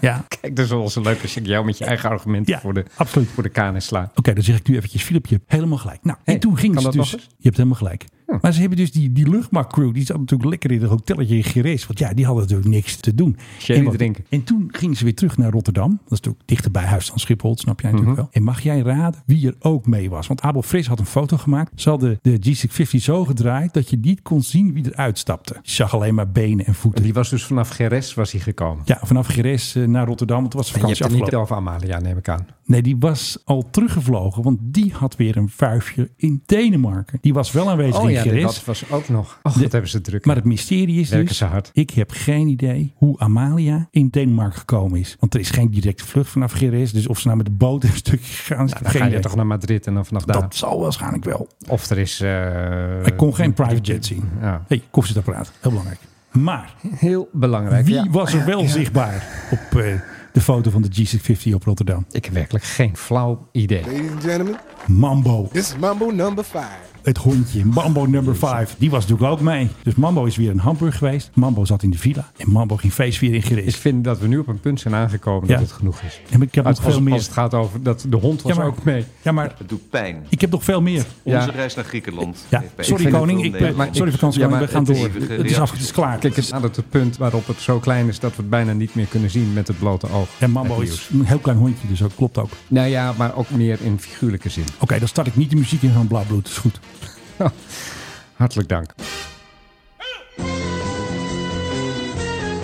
Speaker 5: ja,
Speaker 6: Kijk, dat is wel zo leuk als ik jou met je eigen argumenten
Speaker 5: Ja,
Speaker 6: voor, de,
Speaker 5: absoluut.
Speaker 6: voor de kanen sla.
Speaker 5: Oké, dan zeg ik nu eventjes, Filip, je hebt helemaal gelijk. Nou,
Speaker 6: Hey,
Speaker 5: en toen ging
Speaker 6: kan
Speaker 5: ze
Speaker 6: dat nog
Speaker 5: dus... Je
Speaker 6: eens?
Speaker 5: hebt helemaal gelijk. Maar ze hebben dus die, die luchtmachtcrew, die zat natuurlijk lekker in een hotelletje in Gerees. Want ja, die hadden natuurlijk niks te doen.
Speaker 6: Sherry
Speaker 5: En wat-
Speaker 6: drinken.
Speaker 5: En toen gingen ze weer terug naar Rotterdam. Dat is natuurlijk dichter bij huis dan Schiphol, snap jij natuurlijk
Speaker 6: Mhm.
Speaker 5: wel. En mag jij raden wie er ook mee was? Want Abel Fris had een foto gemaakt. Ze hadden de G650 zo gedraaid dat je niet kon zien wie er uitstapte. Je zag alleen maar benen en voeten.
Speaker 6: Die was dus vanaf Geres was hij gekomen.
Speaker 5: Ja, vanaf Gerees eh, naar Rotterdam. want Het was
Speaker 6: En je hebt
Speaker 5: vakantie
Speaker 6: het niet
Speaker 5: afgelopen.
Speaker 6: over Amalia, neem ik aan.
Speaker 5: Nee, die was al teruggevlogen, want die had weer een vuifje in Denemarken. Die was wel aanwezig in Gerees.
Speaker 6: Oh dat was ook nog. Och,
Speaker 5: De-
Speaker 6: dat hebben ze druk.
Speaker 5: Maar het mysterie is
Speaker 6: Werken
Speaker 5: dus,
Speaker 6: ze hard.
Speaker 5: ik heb geen idee hoe Amalia in Denemarken gekomen is. Want er is geen directe vlucht vanaf Geres. Dus of ze nou met de boot een stukje gegaan is, ik heb
Speaker 6: dan
Speaker 5: geen
Speaker 6: ga je
Speaker 5: idee.
Speaker 6: toch naar Madrid en dan vanaf daar.
Speaker 5: Dat zal waarschijnlijk wel.
Speaker 6: Of er is... eh,
Speaker 5: Ik kon geen private jet zien.
Speaker 6: Ja.
Speaker 5: hey, koffiezetapparaat. Heel belangrijk. Maar
Speaker 6: Heel belangrijk.
Speaker 5: wie
Speaker 6: ja.
Speaker 5: was er wel zichtbaar op eh, de foto van de G650 op Rotterdam?
Speaker 6: Ik heb werkelijk geen flauw idee.
Speaker 4: Ladies and gentlemen,
Speaker 5: Mambo.
Speaker 4: this is Mambo number five.
Speaker 5: Het hondje, Mambo number 5, die was natuurlijk ook mee. Dus Mambo is weer in Hamburg geweest. Mambo zat in de villa. En Mambo ging feest weer in
Speaker 6: Ik
Speaker 5: Gerees.
Speaker 6: vind dat we nu op een punt zijn aangekomen
Speaker 5: Ja.
Speaker 6: dat het genoeg is.
Speaker 5: En ik heb
Speaker 6: Als,
Speaker 5: nog
Speaker 6: als,
Speaker 5: veel
Speaker 6: als
Speaker 5: meer.
Speaker 6: het gaat over dat de hond was
Speaker 5: Ja, maar-
Speaker 6: ook mee.
Speaker 5: Ja, maar
Speaker 8: Het doet pijn.
Speaker 5: ik heb nog veel meer.
Speaker 8: Onze
Speaker 6: Ja.
Speaker 8: reis naar Griekenland.
Speaker 5: Ja,
Speaker 8: heeft bij
Speaker 5: sorry
Speaker 8: heel
Speaker 5: koning,
Speaker 8: veel
Speaker 5: ik ben,
Speaker 8: Nederlanders-
Speaker 6: maar-
Speaker 5: sorry
Speaker 6: Ja,
Speaker 5: vakantiekoning,
Speaker 6: maar
Speaker 5: we gaan
Speaker 6: het
Speaker 5: door.
Speaker 8: is-
Speaker 5: Het is af, het is klaar.
Speaker 6: Kijk, het is aan het punt waarop het zo klein is dat we het bijna niet meer kunnen zien met het blote oog.
Speaker 5: en Mambo
Speaker 6: Het
Speaker 5: is
Speaker 6: nieuws.
Speaker 5: een heel klein hondje, dus ook klopt ook. Oké,
Speaker 6: Nou ja, maar ook meer in figuurlijke zin.
Speaker 5: dan start ik niet de muziek in van Blauwbloed, is goed.
Speaker 6: Hartelijk dank.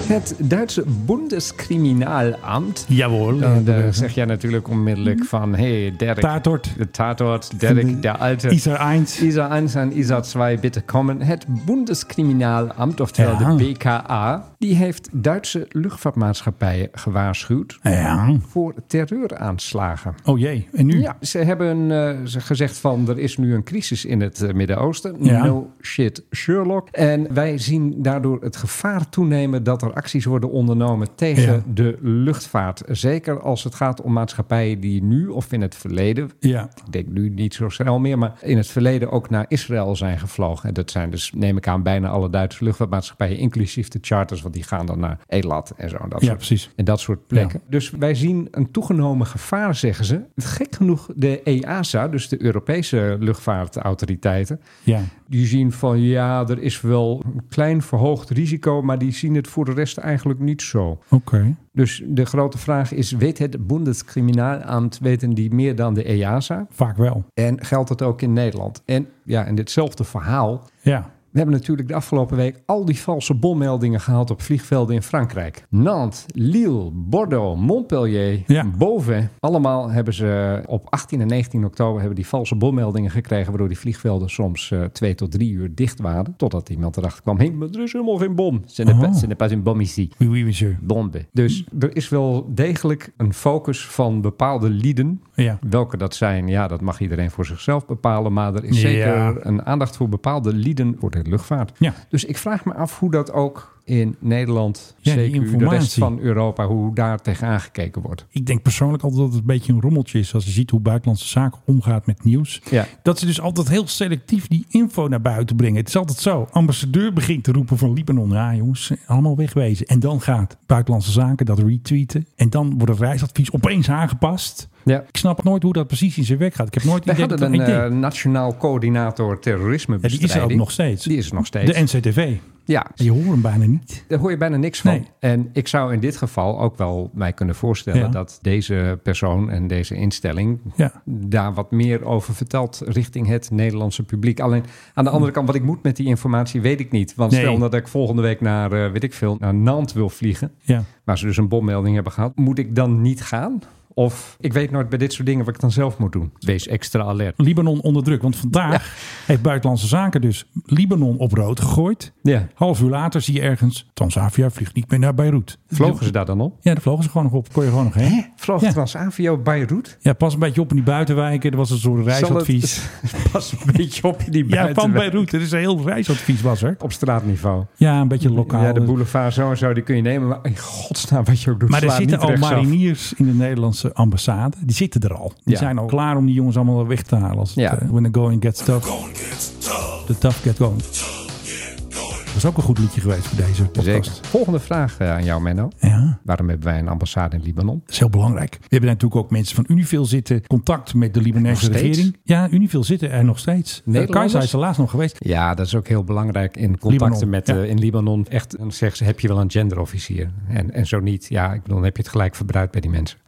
Speaker 6: Het Duitse Bundeskriminalamt.
Speaker 5: Jawohl.
Speaker 6: Dan eh, zeg jij natuurlijk onmiddellijk
Speaker 5: Mhm.
Speaker 6: van... hey, Derek.
Speaker 5: Tatort.
Speaker 6: De Tatort. Derek, de alte.
Speaker 5: Is er eins.
Speaker 6: ISA 1 en ISA 2 bitte komen. Het Bundeskriminalamt, oftewel
Speaker 5: Ja.
Speaker 6: de BKA, die heeft Duitse luchtvaartmaatschappijen gewaarschuwd
Speaker 5: Ja.
Speaker 6: voor terreuraanslagen.
Speaker 5: Oh jee, en nu?
Speaker 6: Ja, ze hebben eh, ze gezegd van er is nu een crisis in het eh, Midden-Oosten.
Speaker 5: Ja.
Speaker 6: No shit Sherlock. En wij zien daardoor het gevaar toenemen dat er acties worden ondernomen tegen
Speaker 5: Ja.
Speaker 6: de luchtvaart. Zeker als het gaat om maatschappijen die nu of in het verleden
Speaker 5: Ja.
Speaker 6: ik denk nu niet zo snel meer, maar in het verleden ook naar Israël zijn gevlogen. En dat zijn dus, neem ik aan, bijna alle Duitse luchtvaartmaatschappijen, inclusief de charters, want die gaan dan naar Elat en zo. En dat
Speaker 5: Ja,
Speaker 6: soort,
Speaker 5: precies.
Speaker 6: En dat soort plekken. Dus wij zien een toegenomen gevaar, zeggen ze. Gek genoeg, de EASA, dus de Europese luchtvaartautoriteiten,
Speaker 5: Ja.
Speaker 6: die zien van ja, er is wel een klein verhoogd risico, maar die zien het voor de rest eigenlijk niet zo.
Speaker 5: Oké.
Speaker 6: Dus de grote vraag is, weet het Bundeskriminalamt, weten die meer dan de E EASA?
Speaker 5: Vaak wel.
Speaker 6: En geldt dat ook in Nederland? En ja, in ditzelfde verhaal.
Speaker 5: Ja.
Speaker 6: We hebben natuurlijk de afgelopen week al die valse bommeldingen gehad op vliegvelden in Frankrijk. Nantes, Lille, Bordeaux, Montpellier,
Speaker 5: Ja.
Speaker 6: Boven. Allemaal hebben ze op 18 en 19 oktober hebben die valse bommeldingen gekregen. Waardoor die vliegvelden soms eh, twee tot drie uur dicht waren. Totdat iemand erachter kwam: hé, maar er is helemaal geen bom. Ze
Speaker 5: Oh.
Speaker 6: hebben pas een bom ici
Speaker 5: Oui, oui, monsieur.
Speaker 6: bombe. Dus er is wel degelijk een focus van bepaalde lieden.
Speaker 5: Ja.
Speaker 6: Welke dat zijn, ja, dat mag iedereen voor zichzelf bepalen. Maar er is zeker
Speaker 5: Ja.
Speaker 6: een aandacht voor bepaalde lieden voor de luchtvaart.
Speaker 5: Ja.
Speaker 6: Dus ik vraag me af hoe dat ook in Nederland,
Speaker 5: Ja, die
Speaker 6: zeker de rest
Speaker 5: informatie.
Speaker 6: van Europa, hoe daar tegenaan gekeken wordt.
Speaker 5: Ik denk persoonlijk altijd dat het een beetje een rommeltje is als je ziet hoe buitenlandse zaken omgaat met nieuws.
Speaker 6: Ja.
Speaker 5: Dat ze dus altijd heel selectief die info naar buiten brengen. Het is altijd zo. Ambassadeur begint te roepen van Libanon. Ja jongens, allemaal wegwezen. En dan gaat buitenlandse zaken dat retweeten. En dan wordt het reisadvies opeens aangepast.
Speaker 6: Ja.
Speaker 5: Ik snap nooit hoe dat precies in zijn werk gaat. Ik heb nooit
Speaker 6: Wij
Speaker 5: idee dat
Speaker 6: hadden een
Speaker 5: dat- ik denk,
Speaker 6: eh, nationaal coördinator
Speaker 5: ja, die
Speaker 6: terrorismebestrijding.
Speaker 5: is er ook nog steeds.
Speaker 6: Die is er nog steeds.
Speaker 5: De NCTV.
Speaker 6: ja,
Speaker 5: Je hoort hem bijna niet.
Speaker 6: daar hoor je bijna niks van.
Speaker 5: Nee.
Speaker 6: En ik zou in dit geval ook wel mij kunnen voorstellen...
Speaker 5: Ja.
Speaker 6: dat deze persoon en deze instelling...
Speaker 5: Ja.
Speaker 6: daar wat meer over vertelt richting het Nederlandse publiek. Alleen aan de andere kant, wat ik moet met die informatie, weet ik niet. Want
Speaker 5: Nee.
Speaker 6: stel nou dat ik volgende week naar, eh, weet ik veel, naar Nantes wil vliegen...
Speaker 5: Ja.
Speaker 6: waar ze dus een bommelding hebben gehad... moet ik dan niet gaan? Of ik weet nooit bij dit soort dingen wat ik dan zelf moet doen. Wees extra alert.
Speaker 5: Libanon onder druk. Want vandaag heeft Buitenlandse Zaken dus Libanon op rood gegooid.
Speaker 6: Ja.
Speaker 5: Half uur later zie je ergens, Transavia vliegt niet meer naar Beirut.
Speaker 6: Vlogen ze daar dan op?
Speaker 5: Ja, daar vlogen ze gewoon nog op. Kon je gewoon nog heen.
Speaker 6: Vloog
Speaker 5: Ja.
Speaker 6: Transavia op Beirut?
Speaker 5: Ja, pas een beetje op in die buitenwijken. Er was een soort reisadvies.
Speaker 6: pas een beetje op in die
Speaker 5: Ja, van
Speaker 6: buitenwijk.
Speaker 5: Beirut. Er is een heel reisadvies was er.
Speaker 6: Op straatniveau.
Speaker 5: Ja, een beetje lokaal.
Speaker 6: Ja, de boulevard zo en zo, die kun je nemen. Maar in godsnaam, wat je ook doet,
Speaker 5: maar er
Speaker 6: sla
Speaker 5: zitten
Speaker 6: niet
Speaker 5: al
Speaker 6: rechtsaf.
Speaker 5: mariniers in de Nederlandse ambassade. Die zitten er al. Die
Speaker 6: Ja.
Speaker 5: zijn al klaar om die jongens allemaal weg te halen. Als
Speaker 6: Ja.
Speaker 5: het, eh, when the going gets tough, the tough get going. Dat is ook een goed liedje geweest voor deze podcast.
Speaker 6: Zeker. Volgende vraag eh, aan jou, Menno.
Speaker 5: Ja,
Speaker 6: Waarom hebben wij een ambassade in Libanon?
Speaker 5: dat is heel belangrijk. We hebben natuurlijk ook mensen van Unifil zitten. Contact met de Libanese
Speaker 6: Nog steeds?
Speaker 5: regering. Ja, Unifil zitten er nog steeds. Eh,
Speaker 6: Nederlanders?
Speaker 5: Kajsa is er laatst nog geweest.
Speaker 6: Ja, dat is ook heel belangrijk in contacten
Speaker 5: Libanon,
Speaker 6: met
Speaker 5: ja.
Speaker 6: eh, in Libanon. Echt, dan zeggen ze, heb je wel een genderofficier? En, en zo niet, ja, ik bedoel, dan heb je het gelijk verbruikt bij die mensen.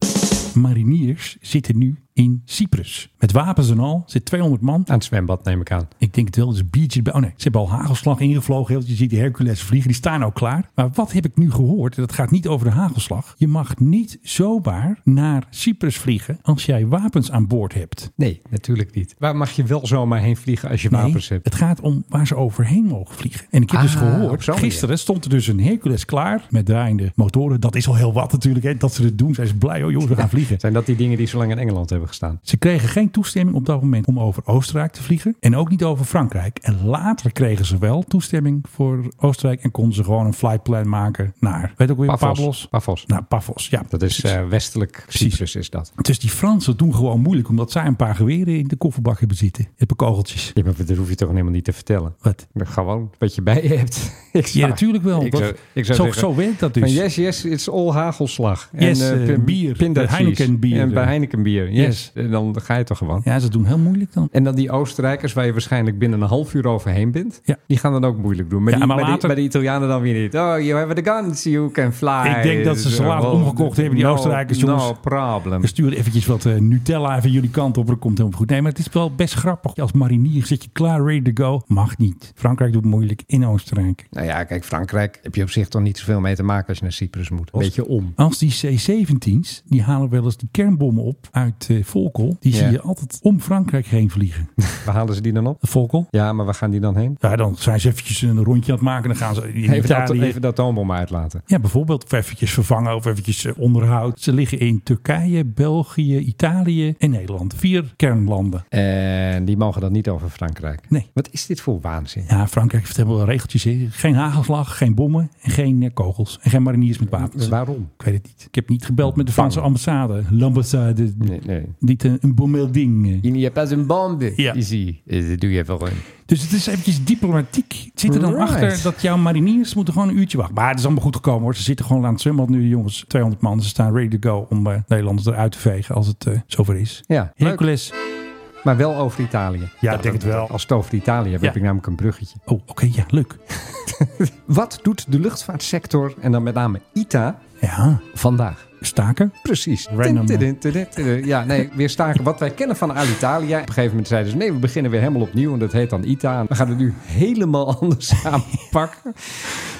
Speaker 5: Mariniers zitten nu in Cyprus. Met wapens en al. Zit 200 man.
Speaker 6: Aan het zwembad neem ik aan.
Speaker 5: Ik denk het wel. Er is een biertje bij. Oh nee, ze hebben al hagelslag ingevlogen. Heel- Je ziet die Hercules vliegen. Die staan ook klaar. Maar wat heb ik nu gehoord? Dat gaat niet over de hagelslag. Je mag niet zomaar naar Cyprus vliegen als jij wapens aan boord hebt.
Speaker 6: Nee, natuurlijk niet. Waar mag je wel zomaar heen vliegen als je wapens hebt?
Speaker 5: het gaat om waar ze overheen mogen vliegen. En ik heb
Speaker 6: Ah,
Speaker 5: dus
Speaker 6: op
Speaker 5: gehoord,
Speaker 6: zo'n manier.
Speaker 5: gisteren stond er dus een Hercules klaar met draaiende motoren. Dat is al heel wat natuurlijk, hè, dat ze het doen. Zijn ze blij, oh jongens, we gaan vliegen.
Speaker 6: Zijn dat die dingen die zo lang in Engeland hebben gestaan?
Speaker 5: Ze kregen geen toestemming op dat moment om over Oostenrijk te vliegen en ook niet over Frankrijk. En later kregen ze wel toestemming voor Oostenrijk en konden ze gewoon een flightplan maken naar, weet ook weer, Pavlos.
Speaker 6: Pavlos. Pavlos.
Speaker 5: Naar Pavlos, ja.
Speaker 6: Dat is
Speaker 5: precies.
Speaker 6: eh, westelijk Cyprus is dat.
Speaker 5: Dus die Fransen doen gewoon moeilijk omdat zij een paar geweren in de kofferbak hebben zitten. Hebben kogeltjes.
Speaker 6: Ja, maar dat hoef je toch helemaal niet te vertellen.
Speaker 5: Wat?
Speaker 6: Gewoon wat je bij je hebt. Ik
Speaker 5: Ja, natuurlijk wel.
Speaker 6: Nou, Ik
Speaker 5: Dat-
Speaker 6: zou, ik zou
Speaker 5: zo,
Speaker 6: zeggen,
Speaker 5: zo werkt dat
Speaker 6: van
Speaker 5: dus.
Speaker 6: yes, yes, it's all hagelslag.
Speaker 5: Yes,
Speaker 6: eh,
Speaker 5: eh,
Speaker 6: pin-
Speaker 5: bier.
Speaker 6: pindacheese.
Speaker 5: Bij Heineken bier. eh.
Speaker 6: En bij Heineken bier, yes.
Speaker 5: Yes.
Speaker 6: En dan ga je toch gewoon.
Speaker 5: Ja, ze doen heel moeilijk dan.
Speaker 6: En dan die Oostenrijkers, waar je waarschijnlijk binnen een half uur overheen bent.
Speaker 5: Ja.
Speaker 6: Die gaan dan ook moeilijk doen. Maar,
Speaker 5: Ja,
Speaker 6: die,
Speaker 5: maar
Speaker 6: maar die-
Speaker 5: later-
Speaker 6: maar de Italianen dan weer niet. Oh, you have the guns, you can fly.
Speaker 5: Ik denk dat ze ze
Speaker 6: Zo,
Speaker 5: later
Speaker 6: oh,
Speaker 5: omgekocht hebben, die
Speaker 6: no-
Speaker 5: Oostenrijkers, jongens.
Speaker 6: No problem.
Speaker 5: We sturen eventjes wat eh, Nutella even jullie kant op. Dat komt helemaal goed. Nee, maar het is wel best grappig. Als marinier zit je klaar, ready to go. Mag niet. Frankrijk doet moeilijk in Oostenrijk.
Speaker 6: Nou ja, kijk, Frankrijk heb je op zich toch niet zoveel mee te maken als je naar Cyprus moet. Beetje om.
Speaker 5: Als die C-17's, die halen wel eens die kernbommen op uit eh Volkel. Die
Speaker 6: Ja.
Speaker 5: zie je altijd om Frankrijk heen vliegen.
Speaker 6: Waar halen ze die dan op?
Speaker 5: Volkel?
Speaker 6: Ja, maar waar gaan die dan heen?
Speaker 5: Ja, dan zijn ze eventjes een rondje aan het maken. Dan gaan ze in
Speaker 6: Even dat,
Speaker 5: Italië.
Speaker 6: even dat atoombom uitlaten.
Speaker 5: Ja, bijvoorbeeld of eventjes vervangen of eventjes eh, onderhoud. Ze liggen in Turkije, België, Italië en Nederland. Vier kernlanden.
Speaker 6: En die mogen dat niet over Frankrijk.
Speaker 5: Nee.
Speaker 6: Wat is dit voor waanzin?
Speaker 5: Ja, Frankrijk heeft helemaal wel regeltjes. hè. Geen hagelslag, geen bommen en geen eh, kogels. En geen mariniers met wapens.
Speaker 6: Waarom?
Speaker 5: Ik weet het niet. Ik heb niet gebeld met de Franse ambassade. L'ambassade.
Speaker 6: Nee, nee.
Speaker 5: Niet een, een bommelding. eh.
Speaker 6: Il n'y a pas une bombe
Speaker 5: Ja.
Speaker 6: ici. Eh, Dat doe je wel een.
Speaker 5: Dus het is eventjes diplomatiek. Het zit er dan
Speaker 6: Right.
Speaker 5: achter dat jouw mariniers moeten gewoon een uurtje wachten. Maar het is allemaal goed gekomen hoor. Ze zitten gewoon aan het zwembad nu, die jongens. 200 man. Ze staan ready to go om eh, Nederlanders eruit te vegen als het eh, zover is.
Speaker 6: Ja, leuk.
Speaker 5: Hercules.
Speaker 6: Maar wel over Italië.
Speaker 5: Ja, ik denk het wel.
Speaker 6: Als het over Italië hebben,
Speaker 5: Ja.
Speaker 6: heb ik namelijk een bruggetje.
Speaker 5: Oh, oké. ja, leuk.
Speaker 6: Wat doet de luchtvaartsector, en dan met name ITA,
Speaker 5: Ja,
Speaker 6: vandaag?
Speaker 5: staken.
Speaker 6: Precies.
Speaker 5: Random, eh,
Speaker 6: Tin, tin, tin, tin, tin. Ja, nee, weer staken wat wij kennen van Alitalia. Op een gegeven moment zeiden ze, nee, we beginnen weer helemaal opnieuw. En dat heet dan ITA. We gaan het nu helemaal anders aanpakken.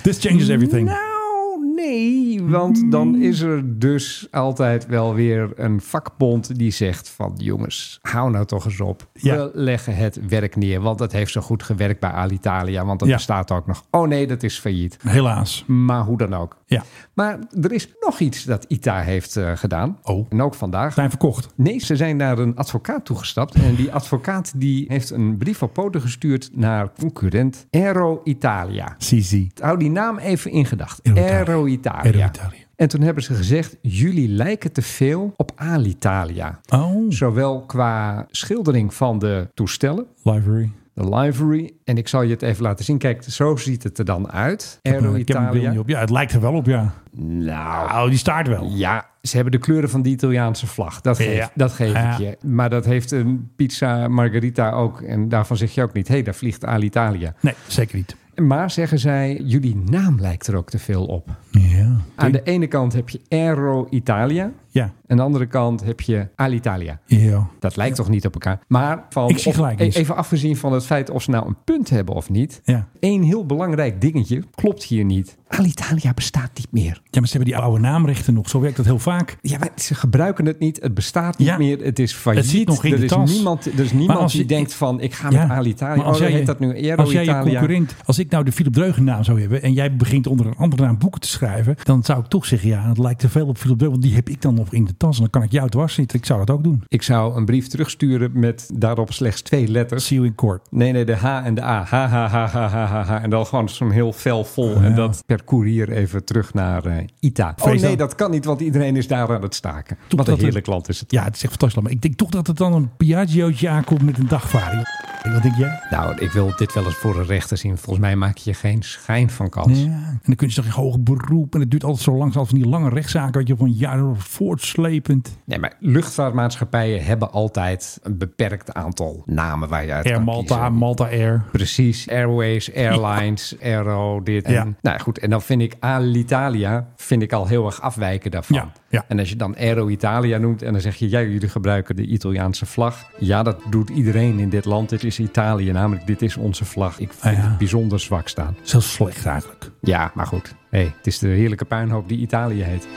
Speaker 5: This changes everything.
Speaker 6: Nou, nee, want dan is er dus altijd wel weer een vakbond die zegt van... jongens, hou nou toch eens op.
Speaker 5: Ja.
Speaker 6: We leggen het werk neer, want dat heeft zo goed gewerkt bij Alitalia. Want dat
Speaker 5: Ja.
Speaker 6: bestaat ook nog. Oh nee, dat is failliet.
Speaker 5: Helaas.
Speaker 6: Maar hoe dan ook.
Speaker 5: Ja.
Speaker 6: Maar er is nog iets dat ITA heeft eh, gedaan.
Speaker 5: Oh.
Speaker 6: En ook vandaag.
Speaker 5: Zijn verkocht.
Speaker 6: Nee, ze zijn naar een advocaat toegestapt. En die advocaat die heeft een brief op poten gestuurd naar concurrent Aero Italia.
Speaker 5: CC.
Speaker 6: Hou die naam even in gedachten.
Speaker 5: Aero Italia.
Speaker 6: Aero Italia.
Speaker 5: Aero Italia.
Speaker 6: En toen hebben ze gezegd, jullie lijken te veel op Alitalia.
Speaker 5: Oh,
Speaker 6: Zowel qua schildering van de toestellen,
Speaker 5: library.
Speaker 6: de livery. En ik zal je het even laten zien. Kijk, zo ziet het er dan uit. Aero
Speaker 5: Ik heb mijn bril
Speaker 6: Italia.
Speaker 5: niet op. Ja, het lijkt er wel op, ja.
Speaker 6: Nou,
Speaker 5: Oh, die staart wel.
Speaker 6: Ja, Ze hebben de kleuren van die Italiaanse vlag. Dat geef,
Speaker 5: Ja.
Speaker 6: dat geef
Speaker 5: Ja.
Speaker 6: ik je. Maar dat heeft een pizza margarita ook. En daarvan zeg je ook niet... hé, hey, daar vliegt Alitalia.
Speaker 5: Nee, zeker niet.
Speaker 6: Maar zeggen zij... jullie naam lijkt er ook te veel op.
Speaker 5: Ja.
Speaker 6: Aan de ene kant heb je Aero Italia.
Speaker 5: Ja.
Speaker 6: Aan de andere kant heb je Alitalia.
Speaker 5: Ja.
Speaker 6: Dat lijkt toch niet op elkaar? Maar van,
Speaker 5: Ik zie
Speaker 6: of-
Speaker 5: gelijkenis.
Speaker 6: even afgezien van het feit of ze nou een punt hebben of niet.
Speaker 5: Ja.
Speaker 6: Eén heel belangrijk dingetje klopt hier niet. Alitalia bestaat niet meer.
Speaker 5: Ja, maar ze hebben die oude naamrechten nog. Zo werkt dat heel vaak.
Speaker 6: Ja, maar ze gebruiken het niet. Het bestaat niet
Speaker 5: Ja.
Speaker 6: meer. Het is failliet.
Speaker 5: Het zit nog in
Speaker 6: er,
Speaker 5: de
Speaker 6: is
Speaker 5: tas.
Speaker 6: Niemand, er is
Speaker 5: Maar
Speaker 6: niemand
Speaker 5: als
Speaker 6: die
Speaker 5: je-
Speaker 6: denkt van ik ga
Speaker 5: Ja.
Speaker 6: met Alitalia.
Speaker 5: Maar
Speaker 6: Oh,
Speaker 5: als
Speaker 6: dan
Speaker 5: jij
Speaker 6: heet
Speaker 5: je-
Speaker 6: dat nu Aero
Speaker 5: Als jij je
Speaker 6: Italia.
Speaker 5: concurrent, als ik nou de Philip Dreugen naam zou hebben en jij begint onder een andere naam boeken te schrijven, dan zou ik toch zeggen, ja, het lijkt te veel op Philip Dreugen, want die heb ik dan nog in de tas en dan kan ik jou dwars zitten. Ik zou dat ook doen.
Speaker 6: Ik zou een brief terugsturen met daarop slechts twee letters.
Speaker 5: See you in court.
Speaker 6: Nee, nee, de H en de A. Ha, ha, ha, ha, ha, ha, ha. En dan gewoon zo'n heel fel vol. En dat per koerier even terug naar eh, Ita. Oh
Speaker 5: Vrees
Speaker 6: nee,
Speaker 5: dan.
Speaker 6: dat kan niet, want iedereen is daar aan het staken. Wat
Speaker 5: dat
Speaker 6: een
Speaker 5: er-
Speaker 6: heerlijk land is het.
Speaker 5: Ja, het is echt fantastisch. Maar ik denk toch dat het dan een Piaggiootje aankomt met een dagvaarding. Wat denk jij?
Speaker 6: Nou, ik wil dit wel eens voor een rechter zien. Volgens mij maak je geen schijn van kans.
Speaker 5: Ja. En dan kun je toch in hoger beroep. En het duurt altijd zo lang. Als van die lange rechtszaken. Wat je van jaren voortslepend.
Speaker 6: Nee, maar luchtvaartmaatschappijen hebben altijd een beperkt aantal namen waar je uit
Speaker 5: Air
Speaker 6: kan
Speaker 5: Malta,
Speaker 6: kiezen.
Speaker 5: Malta Air.
Speaker 6: Precies, Airways, Airlines, Aero, dit en...
Speaker 5: Ja.
Speaker 6: Nou goed, en dan vind ik Alitalia vind ik al heel erg afwijken daarvan.
Speaker 5: Ja, ja.
Speaker 6: En als je dan Aero Italia noemt en dan zeg je... ja, jullie gebruiken de Italiaanse vlag. Ja, dat doet iedereen in dit land. Dit is Italië namelijk, dit is onze vlag. Ik vind
Speaker 5: Ah, ja.
Speaker 6: het bijzonder zwak staan.
Speaker 5: Zelfs slecht eigenlijk.
Speaker 6: Ja, maar goed. Hey, het is de heerlijke puinhoop die Italië heet.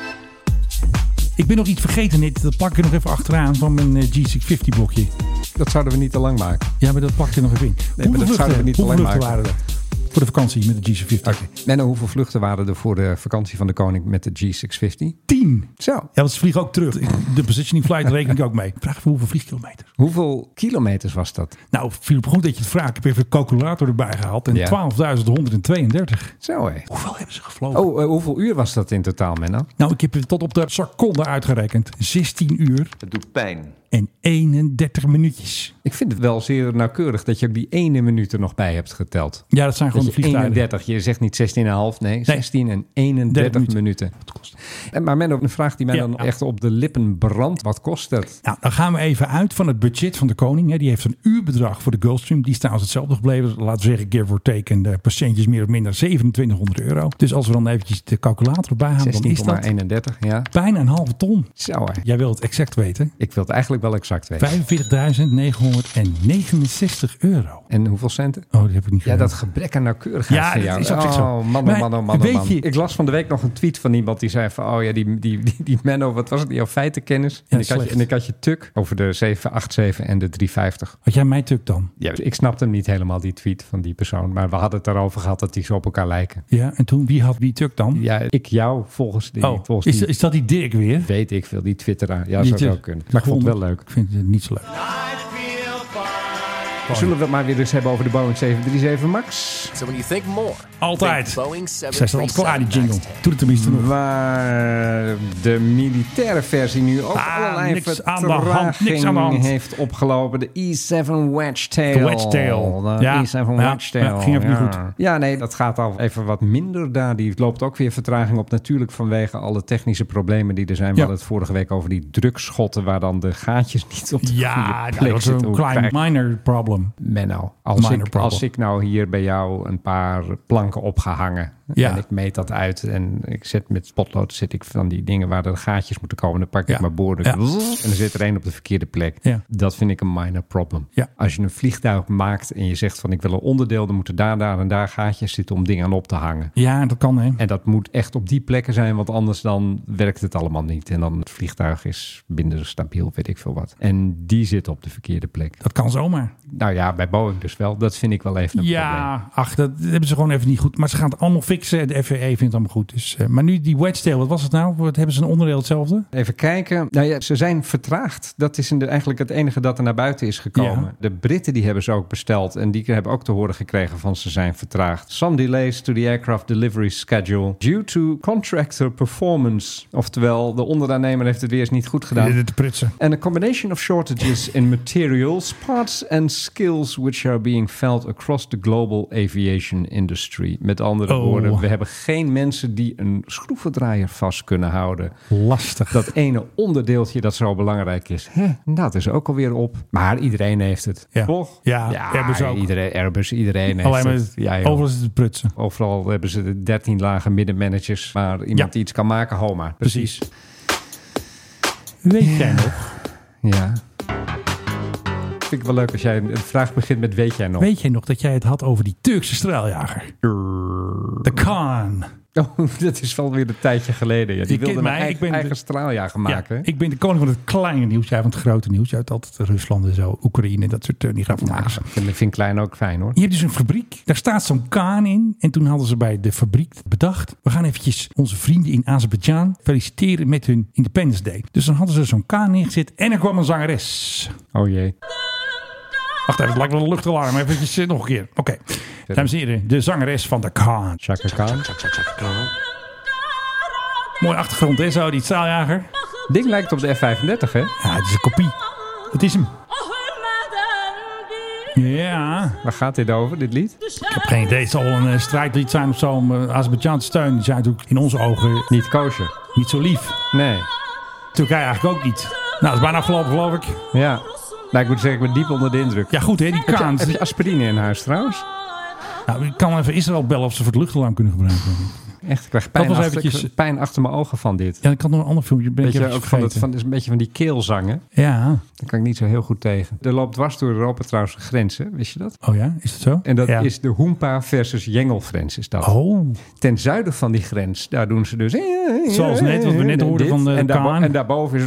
Speaker 5: Ik ben nog iets vergeten. Net. Dat pak ik er nog even achteraan van mijn eh, G650 blokje.
Speaker 6: Dat zouden we niet te lang maken.
Speaker 5: Ja, maar dat pak ik er nog even in.
Speaker 6: maar dat zouden we niet
Speaker 5: hoeveel
Speaker 6: alleen
Speaker 5: vluchten waren
Speaker 6: maken.
Speaker 5: er? Voor de vakantie met de G650.
Speaker 6: Menno, hoeveel vluchten waren er voor de vakantie van de koning met de G650?
Speaker 5: Tien.
Speaker 6: Zo.
Speaker 5: Ja, want ze vliegen ook terug. De positioning flight reken ik ook mee. Vraag voor hoeveel vliegkilometers?
Speaker 6: Hoeveel kilometers was dat?
Speaker 5: Nou, Philip, goed dat je het vraagt. Ik heb even de calculator erbij gehaald. En
Speaker 6: Ja.
Speaker 5: 12.132.
Speaker 6: Zo hé.
Speaker 5: Hoeveel hebben ze gevlogen?
Speaker 6: Oh, eh, hoeveel uur was dat in totaal, Menno?
Speaker 5: Nou, ik heb het tot op de seconde uitgerekend. 16 uur
Speaker 8: Het doet pijn.
Speaker 5: en 31 minuutjes.
Speaker 6: Ik vind het wel zeer nauwkeurig dat je ook die ene minuut er nog bij hebt geteld.
Speaker 5: Ja, dat zijn
Speaker 6: Dat
Speaker 5: gewoon de
Speaker 6: je
Speaker 5: vliegtuigen.
Speaker 6: 31, je zegt niet 16,5, nee, 16 en 31
Speaker 5: minuten.
Speaker 6: minuten. En, maar Menno, een vraag die mij
Speaker 5: Ja,
Speaker 6: dan
Speaker 5: ja.
Speaker 6: echt op de lippen brandt. Wat kost dat?
Speaker 5: Nou, dan gaan we even uit van het budget van de koning. Hè. Die heeft een uurbedrag voor de Gulfstream. Die is trouwens hetzelfde gebleven. Laten we zeggen, give or take, en de patiëntjes meer of minder 2700 euro. Dus als we dan eventjes de calculator erbij halen, dan is dat
Speaker 6: 16,31, ja.
Speaker 5: bijna een halve ton.
Speaker 6: Zo hé.
Speaker 5: Jij wil het exact weten.
Speaker 6: Ik wil het eigenlijk wel exact weten.
Speaker 5: 45.969 euro.
Speaker 6: En hoeveel centen?
Speaker 5: Oh, die heb ik niet
Speaker 6: Ja,
Speaker 5: gedaan.
Speaker 6: dat gebrek aan nauwkeurigheid
Speaker 5: Ja,
Speaker 6: van
Speaker 5: dat
Speaker 6: jou.
Speaker 5: is ook echt zo.
Speaker 6: Oh, man,
Speaker 5: Maar
Speaker 6: oh, man, oh, man, oh,
Speaker 5: weet
Speaker 6: man.
Speaker 5: je-
Speaker 6: Ik las van de week nog een tweet van iemand die zei van... oh ja, die, die, die, die Menno, wat was het? Die had feitenkennis. en, ik had je,
Speaker 5: slecht.
Speaker 6: en ik had je tuk over de 787 en de 350.
Speaker 5: Had jij mij tuk dan?
Speaker 6: Ja, ik snapte hem niet helemaal, die tweet van die persoon. Maar we hadden het erover gehad dat die zo op elkaar lijken.
Speaker 5: Ja, en toen, wie had wie tuk dan?
Speaker 6: Ja, ik jou volgens die...
Speaker 5: oh,
Speaker 6: volgens
Speaker 5: is,
Speaker 6: die
Speaker 5: is dat die Dirk weer?
Speaker 6: Weet ik veel, die twitteraar. Ja,
Speaker 5: Die
Speaker 6: zou
Speaker 5: Dirk.
Speaker 6: wel kunnen. Maar ik vond het wel leuk.
Speaker 5: Ik vind het niet zo leuk.
Speaker 2: I feel fine.
Speaker 6: Zullen we het maar weer eens hebben over de Boeing 737 MAX?
Speaker 9: So when you think more,
Speaker 5: Altijd.
Speaker 9: think Boeing
Speaker 5: Zij staat altijd klaar, die
Speaker 9: 737
Speaker 5: jingle.
Speaker 9: MAX 10.
Speaker 5: Doe het tenminste nog.
Speaker 6: Waar de militaire versie nu ook
Speaker 5: Ah,
Speaker 6: allerlei
Speaker 5: niks aan de hand, niks aan de hand.
Speaker 6: vertraging heeft opgelopen. De E E7 Wedgetail.
Speaker 5: De Wedgetail.
Speaker 6: De E
Speaker 5: Ja,
Speaker 6: E7
Speaker 5: ja,
Speaker 6: Wedgetail.
Speaker 5: ja, ging even niet
Speaker 6: Ja.
Speaker 5: goed.
Speaker 6: Ja, nee, dat gaat al even wat minder daar. Die loopt ook weer vertraging op. Natuurlijk vanwege alle technische problemen die er zijn. We
Speaker 5: Ja.
Speaker 6: hadden het vorige week over die drukschotten... waar dan de gaatjes niet op de
Speaker 5: Ja,
Speaker 6: goede
Speaker 5: dat
Speaker 6: plek
Speaker 5: was
Speaker 6: zitten.
Speaker 5: een
Speaker 6: Hoe
Speaker 5: klein
Speaker 6: krijg-
Speaker 5: minor problem.
Speaker 6: Menno, als
Speaker 5: Minor
Speaker 6: ik,
Speaker 5: problem.
Speaker 6: als ik nou hier bij jou een paar planken opgehangen
Speaker 5: Ja.
Speaker 6: en ik meet dat uit en ik zet met spotlood zit ik van die dingen waar de gaatjes moeten komen, dan pak
Speaker 5: Ja.
Speaker 6: ik mijn boorden
Speaker 5: Ja.
Speaker 6: en dan zit er één op de verkeerde plek.
Speaker 5: Ja.
Speaker 6: Dat vind ik een minor problem.
Speaker 5: Ja.
Speaker 6: Als je een vliegtuig maakt en je zegt van ik wil een onderdeel, dan moeten daar, daar en daar gaatjes zitten om dingen aan op te hangen.
Speaker 5: Ja, dat kan hè.
Speaker 6: En dat moet echt op die plekken zijn, want anders dan werkt het allemaal niet. En dan het vliegtuig is minder stabiel, weet ik veel wat. En die zit op de verkeerde plek.
Speaker 5: Dat kan zomaar.
Speaker 6: Nou ja, bij Boeing dus wel. Dat vind ik wel even een probleem.
Speaker 5: Ja, ach, dat hebben ze gewoon even niet goed. Maar ze gaan het allemaal fixen. De FAA vindt het allemaal goed. Dus, eh, maar nu die wedgetail, wat was het nou? Wat, hebben ze een onderdeel hetzelfde?
Speaker 6: Even kijken. Nou ja, ze zijn vertraagd. Dat is in de- eigenlijk het enige dat er naar buiten is gekomen.
Speaker 5: Ja.
Speaker 6: De Britten die hebben ze ook besteld. En die hebben ook te horen gekregen van ze zijn vertraagd. Some delays to the aircraft delivery schedule due to contractor performance. Oftewel, de onderaannemer heeft het weer eens niet goed gedaan.
Speaker 5: De prutsen.
Speaker 6: And a combination of shortages in materials, parts and skills which are being felt across the global aviation industry. Met andere
Speaker 5: Oh.
Speaker 6: woorden, we hebben geen mensen die een schroevendraaier vast kunnen houden.
Speaker 5: Lastig.
Speaker 6: Dat ene onderdeeltje dat zo belangrijk is, hè, dat is ook alweer op. Maar iedereen heeft het,
Speaker 5: Ja.
Speaker 6: toch?
Speaker 5: Ja, Airbus ook.
Speaker 6: Iedereen, Airbus, iedereen heeft
Speaker 5: Alleen maar
Speaker 6: het. Ja, joh.
Speaker 5: overal is het prutsen.
Speaker 6: Overal hebben ze de 13 lage middenmanagers waar iemand
Speaker 5: Ja.
Speaker 6: die iets kan maken, Homa.
Speaker 5: Precies. Weet jij nog?
Speaker 6: Ja. Vind ik wel leuk als jij een vraag begint met weet jij nog?
Speaker 5: Weet jij nog dat jij het had over die Turkse straaljager? De Khan.
Speaker 6: Oh, dat is wel weer een tijdje geleden. Ja. Die
Speaker 5: Je kent
Speaker 6: wilde een
Speaker 5: mij,
Speaker 6: eigen,
Speaker 5: ik ben de-
Speaker 6: eigen straaljager maken.
Speaker 5: Ja, ik ben de koning van het kleine nieuws. Jij van het grote nieuws. Jij hebt altijd Rusland en zo, Oekraïne, dat soort eh, van
Speaker 6: Ah,
Speaker 5: makers.
Speaker 6: ik vind- ik vind klein ook fijn hoor.
Speaker 5: Je hebt dus een fabriek, daar staat zo'n kaan in. En toen hadden ze bij de fabriek bedacht... we gaan eventjes onze vrienden in Azerbeidzjan feliciteren met hun Independence Day. Dus dan hadden ze zo'n kaan neergezet en er kwam een zangeres.
Speaker 6: Oh jee.
Speaker 5: Wacht even, het lijkt wel een luchtalarm. Even eh, nog een keer. Oké, dames en heren, de zangeres van de kaan.
Speaker 6: Chaka Khan.
Speaker 5: Mooi achtergrond, hè, zo, die straaljager.
Speaker 6: Ding lijkt op de F35 hè?
Speaker 5: Ja, het is een kopie. Het is hem. Ja,
Speaker 6: Waar gaat dit over, dit lied?
Speaker 5: ik heb geen idee. Het zal wel een eh, strijdlied zijn of zo om eh, Azerbeidzjan te steunen. Die zijn natuurlijk in onze ogen
Speaker 6: Niet koosje.
Speaker 5: niet zo lief.
Speaker 6: Nee.
Speaker 5: Turkije eigenlijk ook niet. Nou, het is bijna afgelopen, geloof ik.
Speaker 6: Ja. Nou, ik moet zeggen, ik ben diep onder de indruk.
Speaker 5: Ja, goed hè, die
Speaker 6: Heb je-
Speaker 5: Kaans.
Speaker 6: Heb je aspirine in huis trouwens?
Speaker 5: Nou, ik kan even Israël bellen of ze voor het luchtalarm kunnen gebruiken.
Speaker 6: Echt, ik krijg pijn,
Speaker 5: was
Speaker 6: achter,
Speaker 5: eventjes-
Speaker 6: ik krijg pijn achter mijn ogen van dit.
Speaker 5: Ja, ik kan nog een ander filmpje. Ben ik
Speaker 6: Beetje
Speaker 5: even
Speaker 6: ook van, het,
Speaker 5: vergeten.
Speaker 6: van, is een beetje van die keelzangen.
Speaker 5: Ja.
Speaker 6: Daar kan ik niet zo heel goed tegen. Er loopt dwars door Europa trouwens een grens, hè? wist je dat?
Speaker 5: Oh ja, is dat zo?
Speaker 6: En dat
Speaker 5: Ja.
Speaker 6: is de Hoempa versus Jengelgrens is dat.
Speaker 5: Oh,
Speaker 6: Ten zuiden van die grens, daar doen ze dus...
Speaker 5: Zoals net, wat we net hoorden
Speaker 6: dit.
Speaker 5: van de
Speaker 6: en, daarbo-
Speaker 5: Kaan.
Speaker 6: en daarboven is...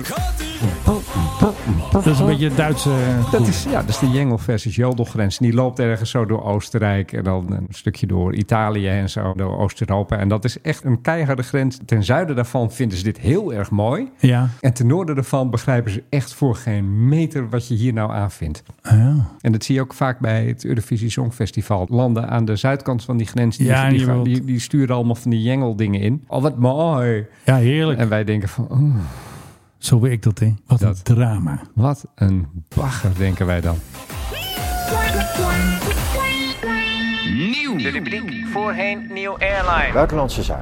Speaker 5: dat is een beetje het Duitse... eh,
Speaker 6: Dat is, ja, dat is de Jengel versus Jodelgrens. En die loopt ergens zo door Oostenrijk en dan een stukje door Italië en zo door Oost-Europa. En dat is echt een keiharde grens. Ten zuiden daarvan vinden ze dit heel erg mooi.
Speaker 5: Ja.
Speaker 6: En ten noorden daarvan begrijpen ze echt voor geen meter wat je hier nou aanvindt.
Speaker 5: Ah, ja.
Speaker 6: En dat zie je ook vaak bij het Eurovisie Songfestival. Landen aan de zuidkant van die grens, die,
Speaker 5: Ja,
Speaker 6: die,
Speaker 5: je
Speaker 6: gaan-
Speaker 5: wilt-
Speaker 6: die, die sturen allemaal van die jengeldingen in. Oh, wat mooi.
Speaker 5: Ja, heerlijk.
Speaker 6: En wij denken van, oh,
Speaker 5: Zo werkt dat, hè. Wat
Speaker 6: Dat.
Speaker 5: een drama.
Speaker 6: wat een bagger, denken wij dan.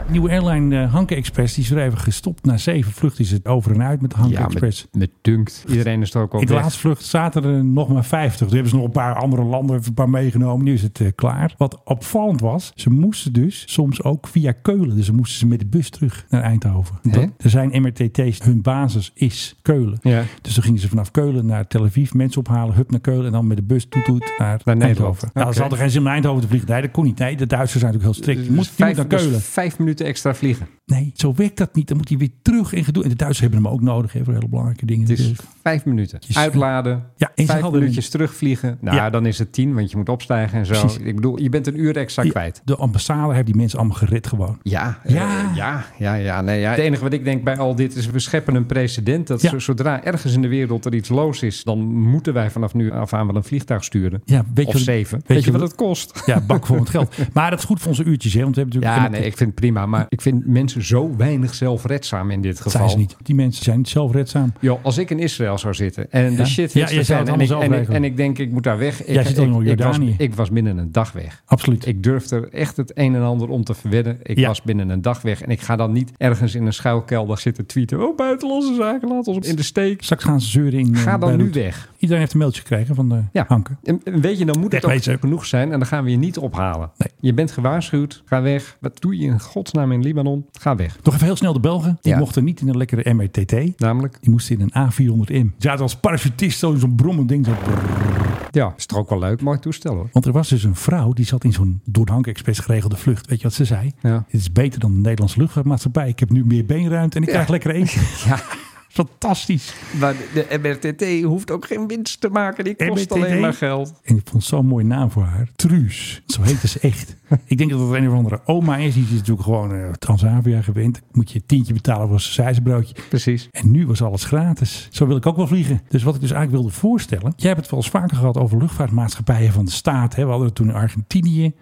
Speaker 5: Nieuwe airline eh Hanke Express, die is weer even gestopt. Na zeven vluchten is het over en uit met de Hanke
Speaker 6: Ja,
Speaker 5: Express.
Speaker 6: met, met dunkt. Iedereen is er ook op
Speaker 5: In de
Speaker 6: weg.
Speaker 5: laatste vlucht zaten er nog maar 50. Toen hebben ze nog een paar andere landen even een paar meegenomen. Nu is het eh, klaar. Wat opvallend was, ze moesten dus soms ook via Keulen. Dus ze moesten ze met de bus terug naar Eindhoven.
Speaker 6: Hè?
Speaker 5: Dat, er zijn MRTT's, hun basis is Keulen.
Speaker 6: Ja.
Speaker 5: Dus dan gingen ze vanaf Keulen naar Tel Aviv, mensen ophalen, hup naar Keulen en dan met de bus toet toet naar,
Speaker 6: Nederland.
Speaker 5: Eindhoven. Nou,
Speaker 6: Oké.
Speaker 5: ze hadden geen zin om naar Eindhoven te vliegen. Nee, dat kon niet. Nee, de Duitsers zijn natuurlijk heel strikt. Je moet, je moet
Speaker 6: vijf,
Speaker 5: naar Keulen.
Speaker 6: dus vijf minuten extra vliegen.
Speaker 5: Nee, zo werkt dat niet. Dan moet hij weer terug en gedoe. En de Duitsers hebben hem ook nodig hè, voor hele belangrijke dingen.
Speaker 6: Het is
Speaker 5: natuurlijk.
Speaker 6: Dus vijf minuten.
Speaker 5: Jezus.
Speaker 6: Uitladen.
Speaker 5: Ja, en ze
Speaker 6: vijf
Speaker 5: hadden
Speaker 6: minuutjes terugvliegen. Nou,
Speaker 5: Ja.
Speaker 6: dan is het tien, want je moet opstijgen en zo.
Speaker 5: Precies.
Speaker 6: Ik bedoel, je bent een uur extra kwijt.
Speaker 5: De ambassade heeft die mensen allemaal gered gewoon.
Speaker 6: Ja,
Speaker 5: Ja.
Speaker 6: ja. ja, ja, ja, nee, ja. Het enige wat ik denk bij al dit is, we scheppen een precedent. Dat
Speaker 5: Ja.
Speaker 6: zo- zodra ergens in de wereld er iets los is, dan moeten wij vanaf nu af aan wel een vliegtuig sturen.
Speaker 5: Ja, weet
Speaker 6: of
Speaker 5: je,
Speaker 6: zeven. Weet,
Speaker 5: Weet,
Speaker 6: je wat het kost?
Speaker 5: Ja, bak voor het geld. Maar dat is goed voor onze uurtjes, hè? Want we hebben natuurlijk.
Speaker 6: Ja, nee, ik vind het prima. Maar ik vind mensen zo weinig zelfredzaam in dit
Speaker 5: dat
Speaker 6: geval.
Speaker 5: zijn ze niet. Die mensen zijn niet zelfredzaam.
Speaker 6: Joh, als ik in Israël zou zitten en
Speaker 5: Ja.
Speaker 6: de shit
Speaker 5: Ja,
Speaker 6: hits
Speaker 5: jij
Speaker 6: er
Speaker 5: zou
Speaker 6: zijn
Speaker 5: het
Speaker 6: en
Speaker 5: allemaal
Speaker 6: ik,
Speaker 5: zelf
Speaker 6: en, ik,
Speaker 5: regelen.
Speaker 6: en ik denk, ik moet daar weg.
Speaker 5: Jij
Speaker 6: ik,
Speaker 5: zit al in
Speaker 6: ik, ik, was,
Speaker 5: Jordanië.
Speaker 6: ik was binnen een dag weg.
Speaker 5: Absoluut.
Speaker 6: Ik durfde er echt het een en ander om te verwedden. Ik
Speaker 5: Ja.
Speaker 6: was binnen een dag weg. En ik ga dan niet ergens in een schuilkelder zitten tweeten. Oh, buitenlandse zaken, laat ons in de steek.
Speaker 5: Straks gaan ze zeuren in. eh,
Speaker 6: Ga dan nu
Speaker 5: Beirut.
Speaker 6: weg.
Speaker 5: Iedereen heeft een mailtje gekregen van de
Speaker 6: Ja.
Speaker 5: Hanke.
Speaker 6: En en weet je, dan moet het ook
Speaker 5: Wegwezen.
Speaker 6: genoeg zijn. En dan gaan we je niet ophalen.
Speaker 5: Nee.
Speaker 6: Je bent gewaarschuwd. Ga weg. Wat doe je in godsnaam in Libanon? Ga weg.
Speaker 5: Nog even heel snel de Belgen. Die
Speaker 6: Ja.
Speaker 5: mochten niet in een lekkere MRTT.
Speaker 6: Namelijk,
Speaker 5: Die moesten in een A400M. Ze zaten als parachutist zo in zo'n brommend ding. Zo.
Speaker 6: ja, is toch ook wel leuk. Mooi toestel hoor.
Speaker 5: Want er was dus een vrouw die zat in zo'n door de Hanke Express geregelde vlucht. Weet je wat ze zei?
Speaker 6: Ja.
Speaker 5: Het is beter dan de Nederlandse luchtvaartmaatschappij. Ik heb nu meer beenruimte en ik krijg lekker eten.
Speaker 6: Ja.
Speaker 5: Fantastisch.
Speaker 6: Maar de MRTT hoeft ook geen winst te maken. Die kost
Speaker 5: MRTT?
Speaker 6: alleen maar geld.
Speaker 5: En ik vond het zo'n mooie naam voor haar. Truus. Zo heette ze echt. ik denk dat het een of andere oma is. Die is natuurlijk gewoon eh, Transavia gewend. Moet je een tientje betalen voor een sausijzenbroodje.
Speaker 6: Precies.
Speaker 5: En nu was alles gratis. Zo wil ik ook wel vliegen. Dus wat ik dus eigenlijk wilde voorstellen. Jij hebt het wel eens vaker gehad over luchtvaartmaatschappijen van de staat. Hè? We hadden het toen in Argentinië.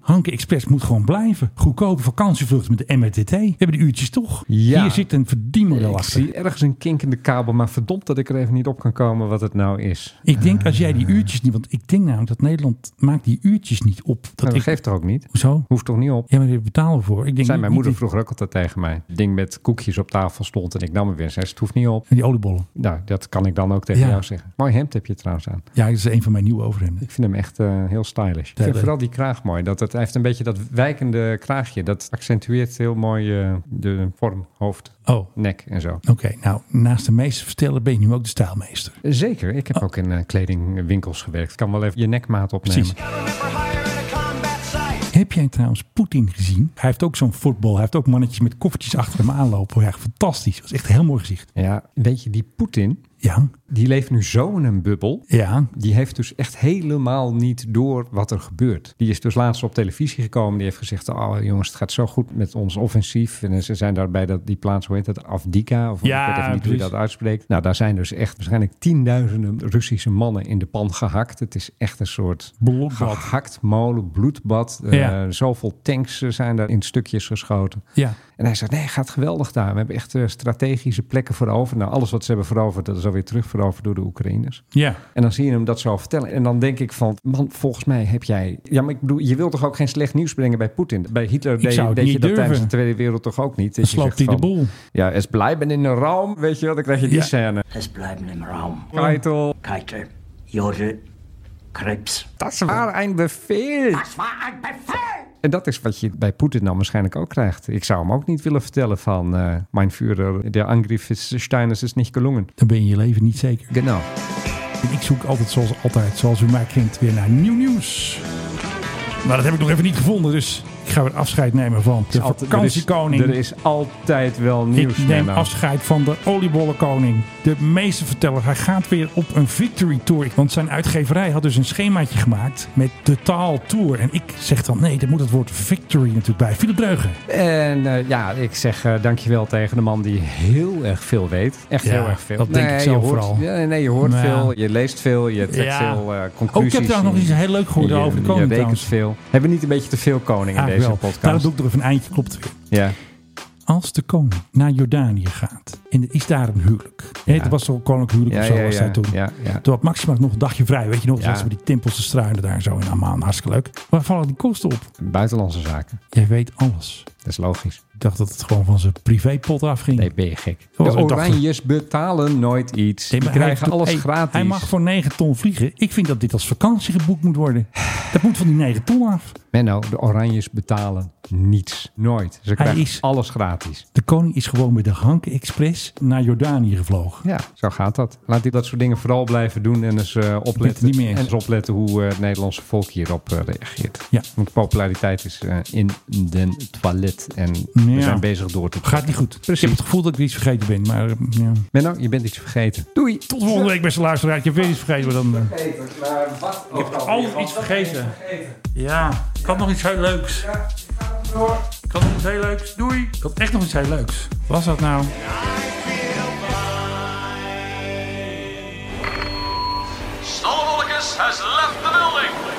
Speaker 5: Hanke Express moet gewoon blijven. Goedkope vakantievluchten met de MRTT. We hebben de uurtjes toch?
Speaker 6: Ja.
Speaker 5: Hier zit een verdienmodel
Speaker 6: Ik
Speaker 5: achter.
Speaker 6: zie ergens een kinkende kabel, maar verdomd dat ik er even niet op kan komen wat het nou is.
Speaker 5: Ik denk als jij die uurtjes niet... Want ik denk namelijk dat Nederland maakt die uurtjes niet op.
Speaker 6: Nou, Dat
Speaker 5: Dat ik,
Speaker 6: geeft toch ook niet?
Speaker 5: Hoezo?
Speaker 6: Hoeft toch niet op?
Speaker 5: Ja, maar daar betalen we voor. Ik denk
Speaker 6: Zijn
Speaker 5: niet-
Speaker 6: mijn moeder
Speaker 5: niet-
Speaker 6: vroeger ook altijd tegen mij. Het ding met koekjes op tafel stond en ik nam er weer. Zei ze, het hoeft niet op.
Speaker 5: Die oliebollen.
Speaker 6: Nou, dat kan ik dan ook tegen
Speaker 5: Ja.
Speaker 6: jou zeggen. Mooi hemd heb je trouwens aan.
Speaker 5: Ja, dat is een van mijn nieuwe overhemden.
Speaker 6: Ik vind hem echt eh, heel stylish. Ik vind
Speaker 5: leuk.
Speaker 6: vooral die kraag mooi. Dat het, hij heeft een beetje dat wijkende kraagje. Dat accentueert heel mooi eh, de vorm, hoofd,
Speaker 5: Oh, oké.
Speaker 6: nek en zo.
Speaker 5: nou, naast de meester vertellen ben je nu ook de stijlmeester.
Speaker 6: Zeker. Ik heb
Speaker 5: Oh.
Speaker 6: ook in eh, kledingwinkels gewerkt. Ik kan wel even je nekmaat opnemen.
Speaker 5: Precies. Heb jij trouwens Poetin gezien? Hij heeft ook zo'n voetbal. Hij heeft ook mannetjes met koffertjes achter hem aanlopen. Ja, fantastisch. Dat is echt een heel mooi gezicht.
Speaker 6: Ja, weet je, die Poetin,
Speaker 5: Ja,
Speaker 6: die leeft nu zo in een bubbel.
Speaker 5: ja.
Speaker 6: Die heeft dus echt helemaal niet door wat er gebeurt. Die is dus laatst op televisie gekomen. Die heeft gezegd, oh jongens, het gaat zo goed met ons offensief. En ze zijn daarbij dat, die plaats, hoe heet dat, Afdika? Of
Speaker 5: Ja,
Speaker 6: ik weet even niet hoe je
Speaker 5: precies.
Speaker 6: dat uitspreekt. Nou, daar zijn dus echt waarschijnlijk tienduizenden Russische mannen in de pan gehakt. Het is echt een soort
Speaker 5: Bloedbad.
Speaker 6: gehakt molen, bloedbad. Eh,
Speaker 5: Ja.
Speaker 6: zoveel tanks eh, zijn daar in stukjes geschoten.
Speaker 5: Ja.
Speaker 6: En hij zegt, nee, gaat geweldig daar. We hebben echt eh, strategische plekken veroverd. Nou, alles wat ze hebben veroverd, dat is alweer terugveroverd door de Oekraïners.
Speaker 5: Ja.
Speaker 6: En dan zie je hem dat zo vertellen. En dan denk ik van, man, volgens mij heb jij... Ja, maar ik bedoel, je wilt toch ook geen slecht nieuws brengen bij Poetin? Bij Hitler deed,
Speaker 5: zou het
Speaker 6: deed je
Speaker 5: niet
Speaker 6: dat
Speaker 5: durven.
Speaker 6: tijdens de Tweede Wereld toch ook niet? Dat
Speaker 5: Dan
Speaker 6: je
Speaker 5: slaapt
Speaker 6: zegt
Speaker 5: hij de
Speaker 6: van,
Speaker 5: boel.
Speaker 6: Ja, es blijven in de raam, weet je wel. Dan krijg je die
Speaker 5: Ja.
Speaker 6: scène.
Speaker 9: Es bleiben im Raum
Speaker 6: Keitel,
Speaker 9: Keitel, Jodel, Krebs.
Speaker 6: dat was een bevel. En dat is wat je bij Poetin dan waarschijnlijk ook krijgt. Ik zou hem ook niet willen vertellen van... eh mijn Führer, de Angriff is Steiners is niet gelungen.
Speaker 5: Dan ben je je leven niet zeker.
Speaker 6: Genau.
Speaker 5: Ik zoek altijd, zoals altijd, zoals u mij kent, weer naar nieuw nieuws. Maar dat heb ik nog even niet gevonden, dus ik ga weer afscheid nemen van de
Speaker 6: Altijd- er is-
Speaker 5: vakantiekoning.
Speaker 6: Er is altijd wel nieuws.
Speaker 5: Ik neem
Speaker 6: Menno.
Speaker 5: afscheid van de oliebollenkoning. De meeste verteller, hij gaat weer op een victory tour. Want zijn uitgeverij had dus een schemaatje gemaakt met de taal tour. En ik zeg dan, nee, daar moet het woord victory natuurlijk bij. Philip Dreugen. Oh,
Speaker 6: En eh, ja, ik zeg eh, dankjewel tegen de man die heel erg veel weet. Echt
Speaker 5: Ja,
Speaker 6: heel erg veel.
Speaker 5: dat denk ik
Speaker 6: je
Speaker 5: zelf
Speaker 6: hoort-
Speaker 5: vooral.
Speaker 6: Ja, nee, je hoort
Speaker 5: Nou ja.
Speaker 6: veel, je leest veel, je trekt
Speaker 5: Ja.
Speaker 6: veel eh,
Speaker 5: Oh, ik
Speaker 6: conclusies.
Speaker 5: heb daar nog
Speaker 6: en-
Speaker 5: iets heel leuk gehoord
Speaker 6: en je-
Speaker 5: over de
Speaker 6: Je
Speaker 5: koning
Speaker 6: rekent
Speaker 5: trouwens.
Speaker 6: veel. Hebben we niet een beetje te veel koningen in deze
Speaker 5: Eigenlijk wel. Daarom
Speaker 6: podcast?
Speaker 5: doe ik er even een eindje, klopt het weer.
Speaker 6: Ja.
Speaker 5: Als de koning naar Jordanië gaat en er is daar een huwelijk. Hè,
Speaker 6: Ja.
Speaker 5: Er was toch een koninklijk huwelijk
Speaker 6: Ja,
Speaker 5: of zo
Speaker 6: ja,
Speaker 5: was
Speaker 6: ja,
Speaker 5: dat toen.
Speaker 6: ja, ja.
Speaker 5: Toen had Maxima nog een dagje vrij. Weet je nog,
Speaker 6: Ja.
Speaker 5: ja. ze bij die tempels te struinen daar zo in Amman. Hartstikke leuk. Waar vallen die kosten op?
Speaker 6: Buitenlandse zaken.
Speaker 5: Jij weet alles.
Speaker 6: Dat is logisch.
Speaker 5: Ik dacht dat het gewoon van zijn privépot afging.
Speaker 6: Nee, ben je gek.
Speaker 5: Zoals
Speaker 6: De
Speaker 5: we dachten.
Speaker 6: Oranjes betalen nooit iets.
Speaker 5: Nee,
Speaker 6: Die
Speaker 5: maar hij
Speaker 6: krijgen
Speaker 5: doet-
Speaker 6: alles
Speaker 5: hey,
Speaker 6: gratis.
Speaker 5: Hij mag voor 9 ton vliegen. Ik vind dat dit als vakantie geboekt moet worden. Dat moet van die 9 ton af.
Speaker 6: Menno, de Oranjes betalen niets. Nooit. Ze krijgen
Speaker 5: is-
Speaker 6: alles gratis.
Speaker 5: De koning is gewoon met de Hanke Express naar Jordanië gevlogen.
Speaker 6: Ja, zo gaat dat. Laat die dat soort dingen vooral blijven doen en eens eh, opletten.
Speaker 5: niet meer eens.
Speaker 6: En eens opletten hoe eh, het Nederlandse volk hierop eh, reageert.
Speaker 5: Ja.
Speaker 6: Want populariteit is eh, in den toilet. En
Speaker 5: Ja.
Speaker 6: we zijn bezig door te
Speaker 5: Gaat niet goed. Ik heb het gevoel dat ik er iets vergeten ben. Maar eh, ja.
Speaker 6: Menno, je bent iets vergeten. Doei.
Speaker 5: tot volgende week, beste luisteraar. Ik heb weer iets vergeten. maar Dan, eh,
Speaker 6: Ik heb
Speaker 5: altijd iets vergeten. Ja, ik had nog iets heel leuks. Ik had nog iets heel leuks. Doei. Ik had echt nog iets heel leuks. Wat was dat nou?
Speaker 3: Snorlaus has left the building.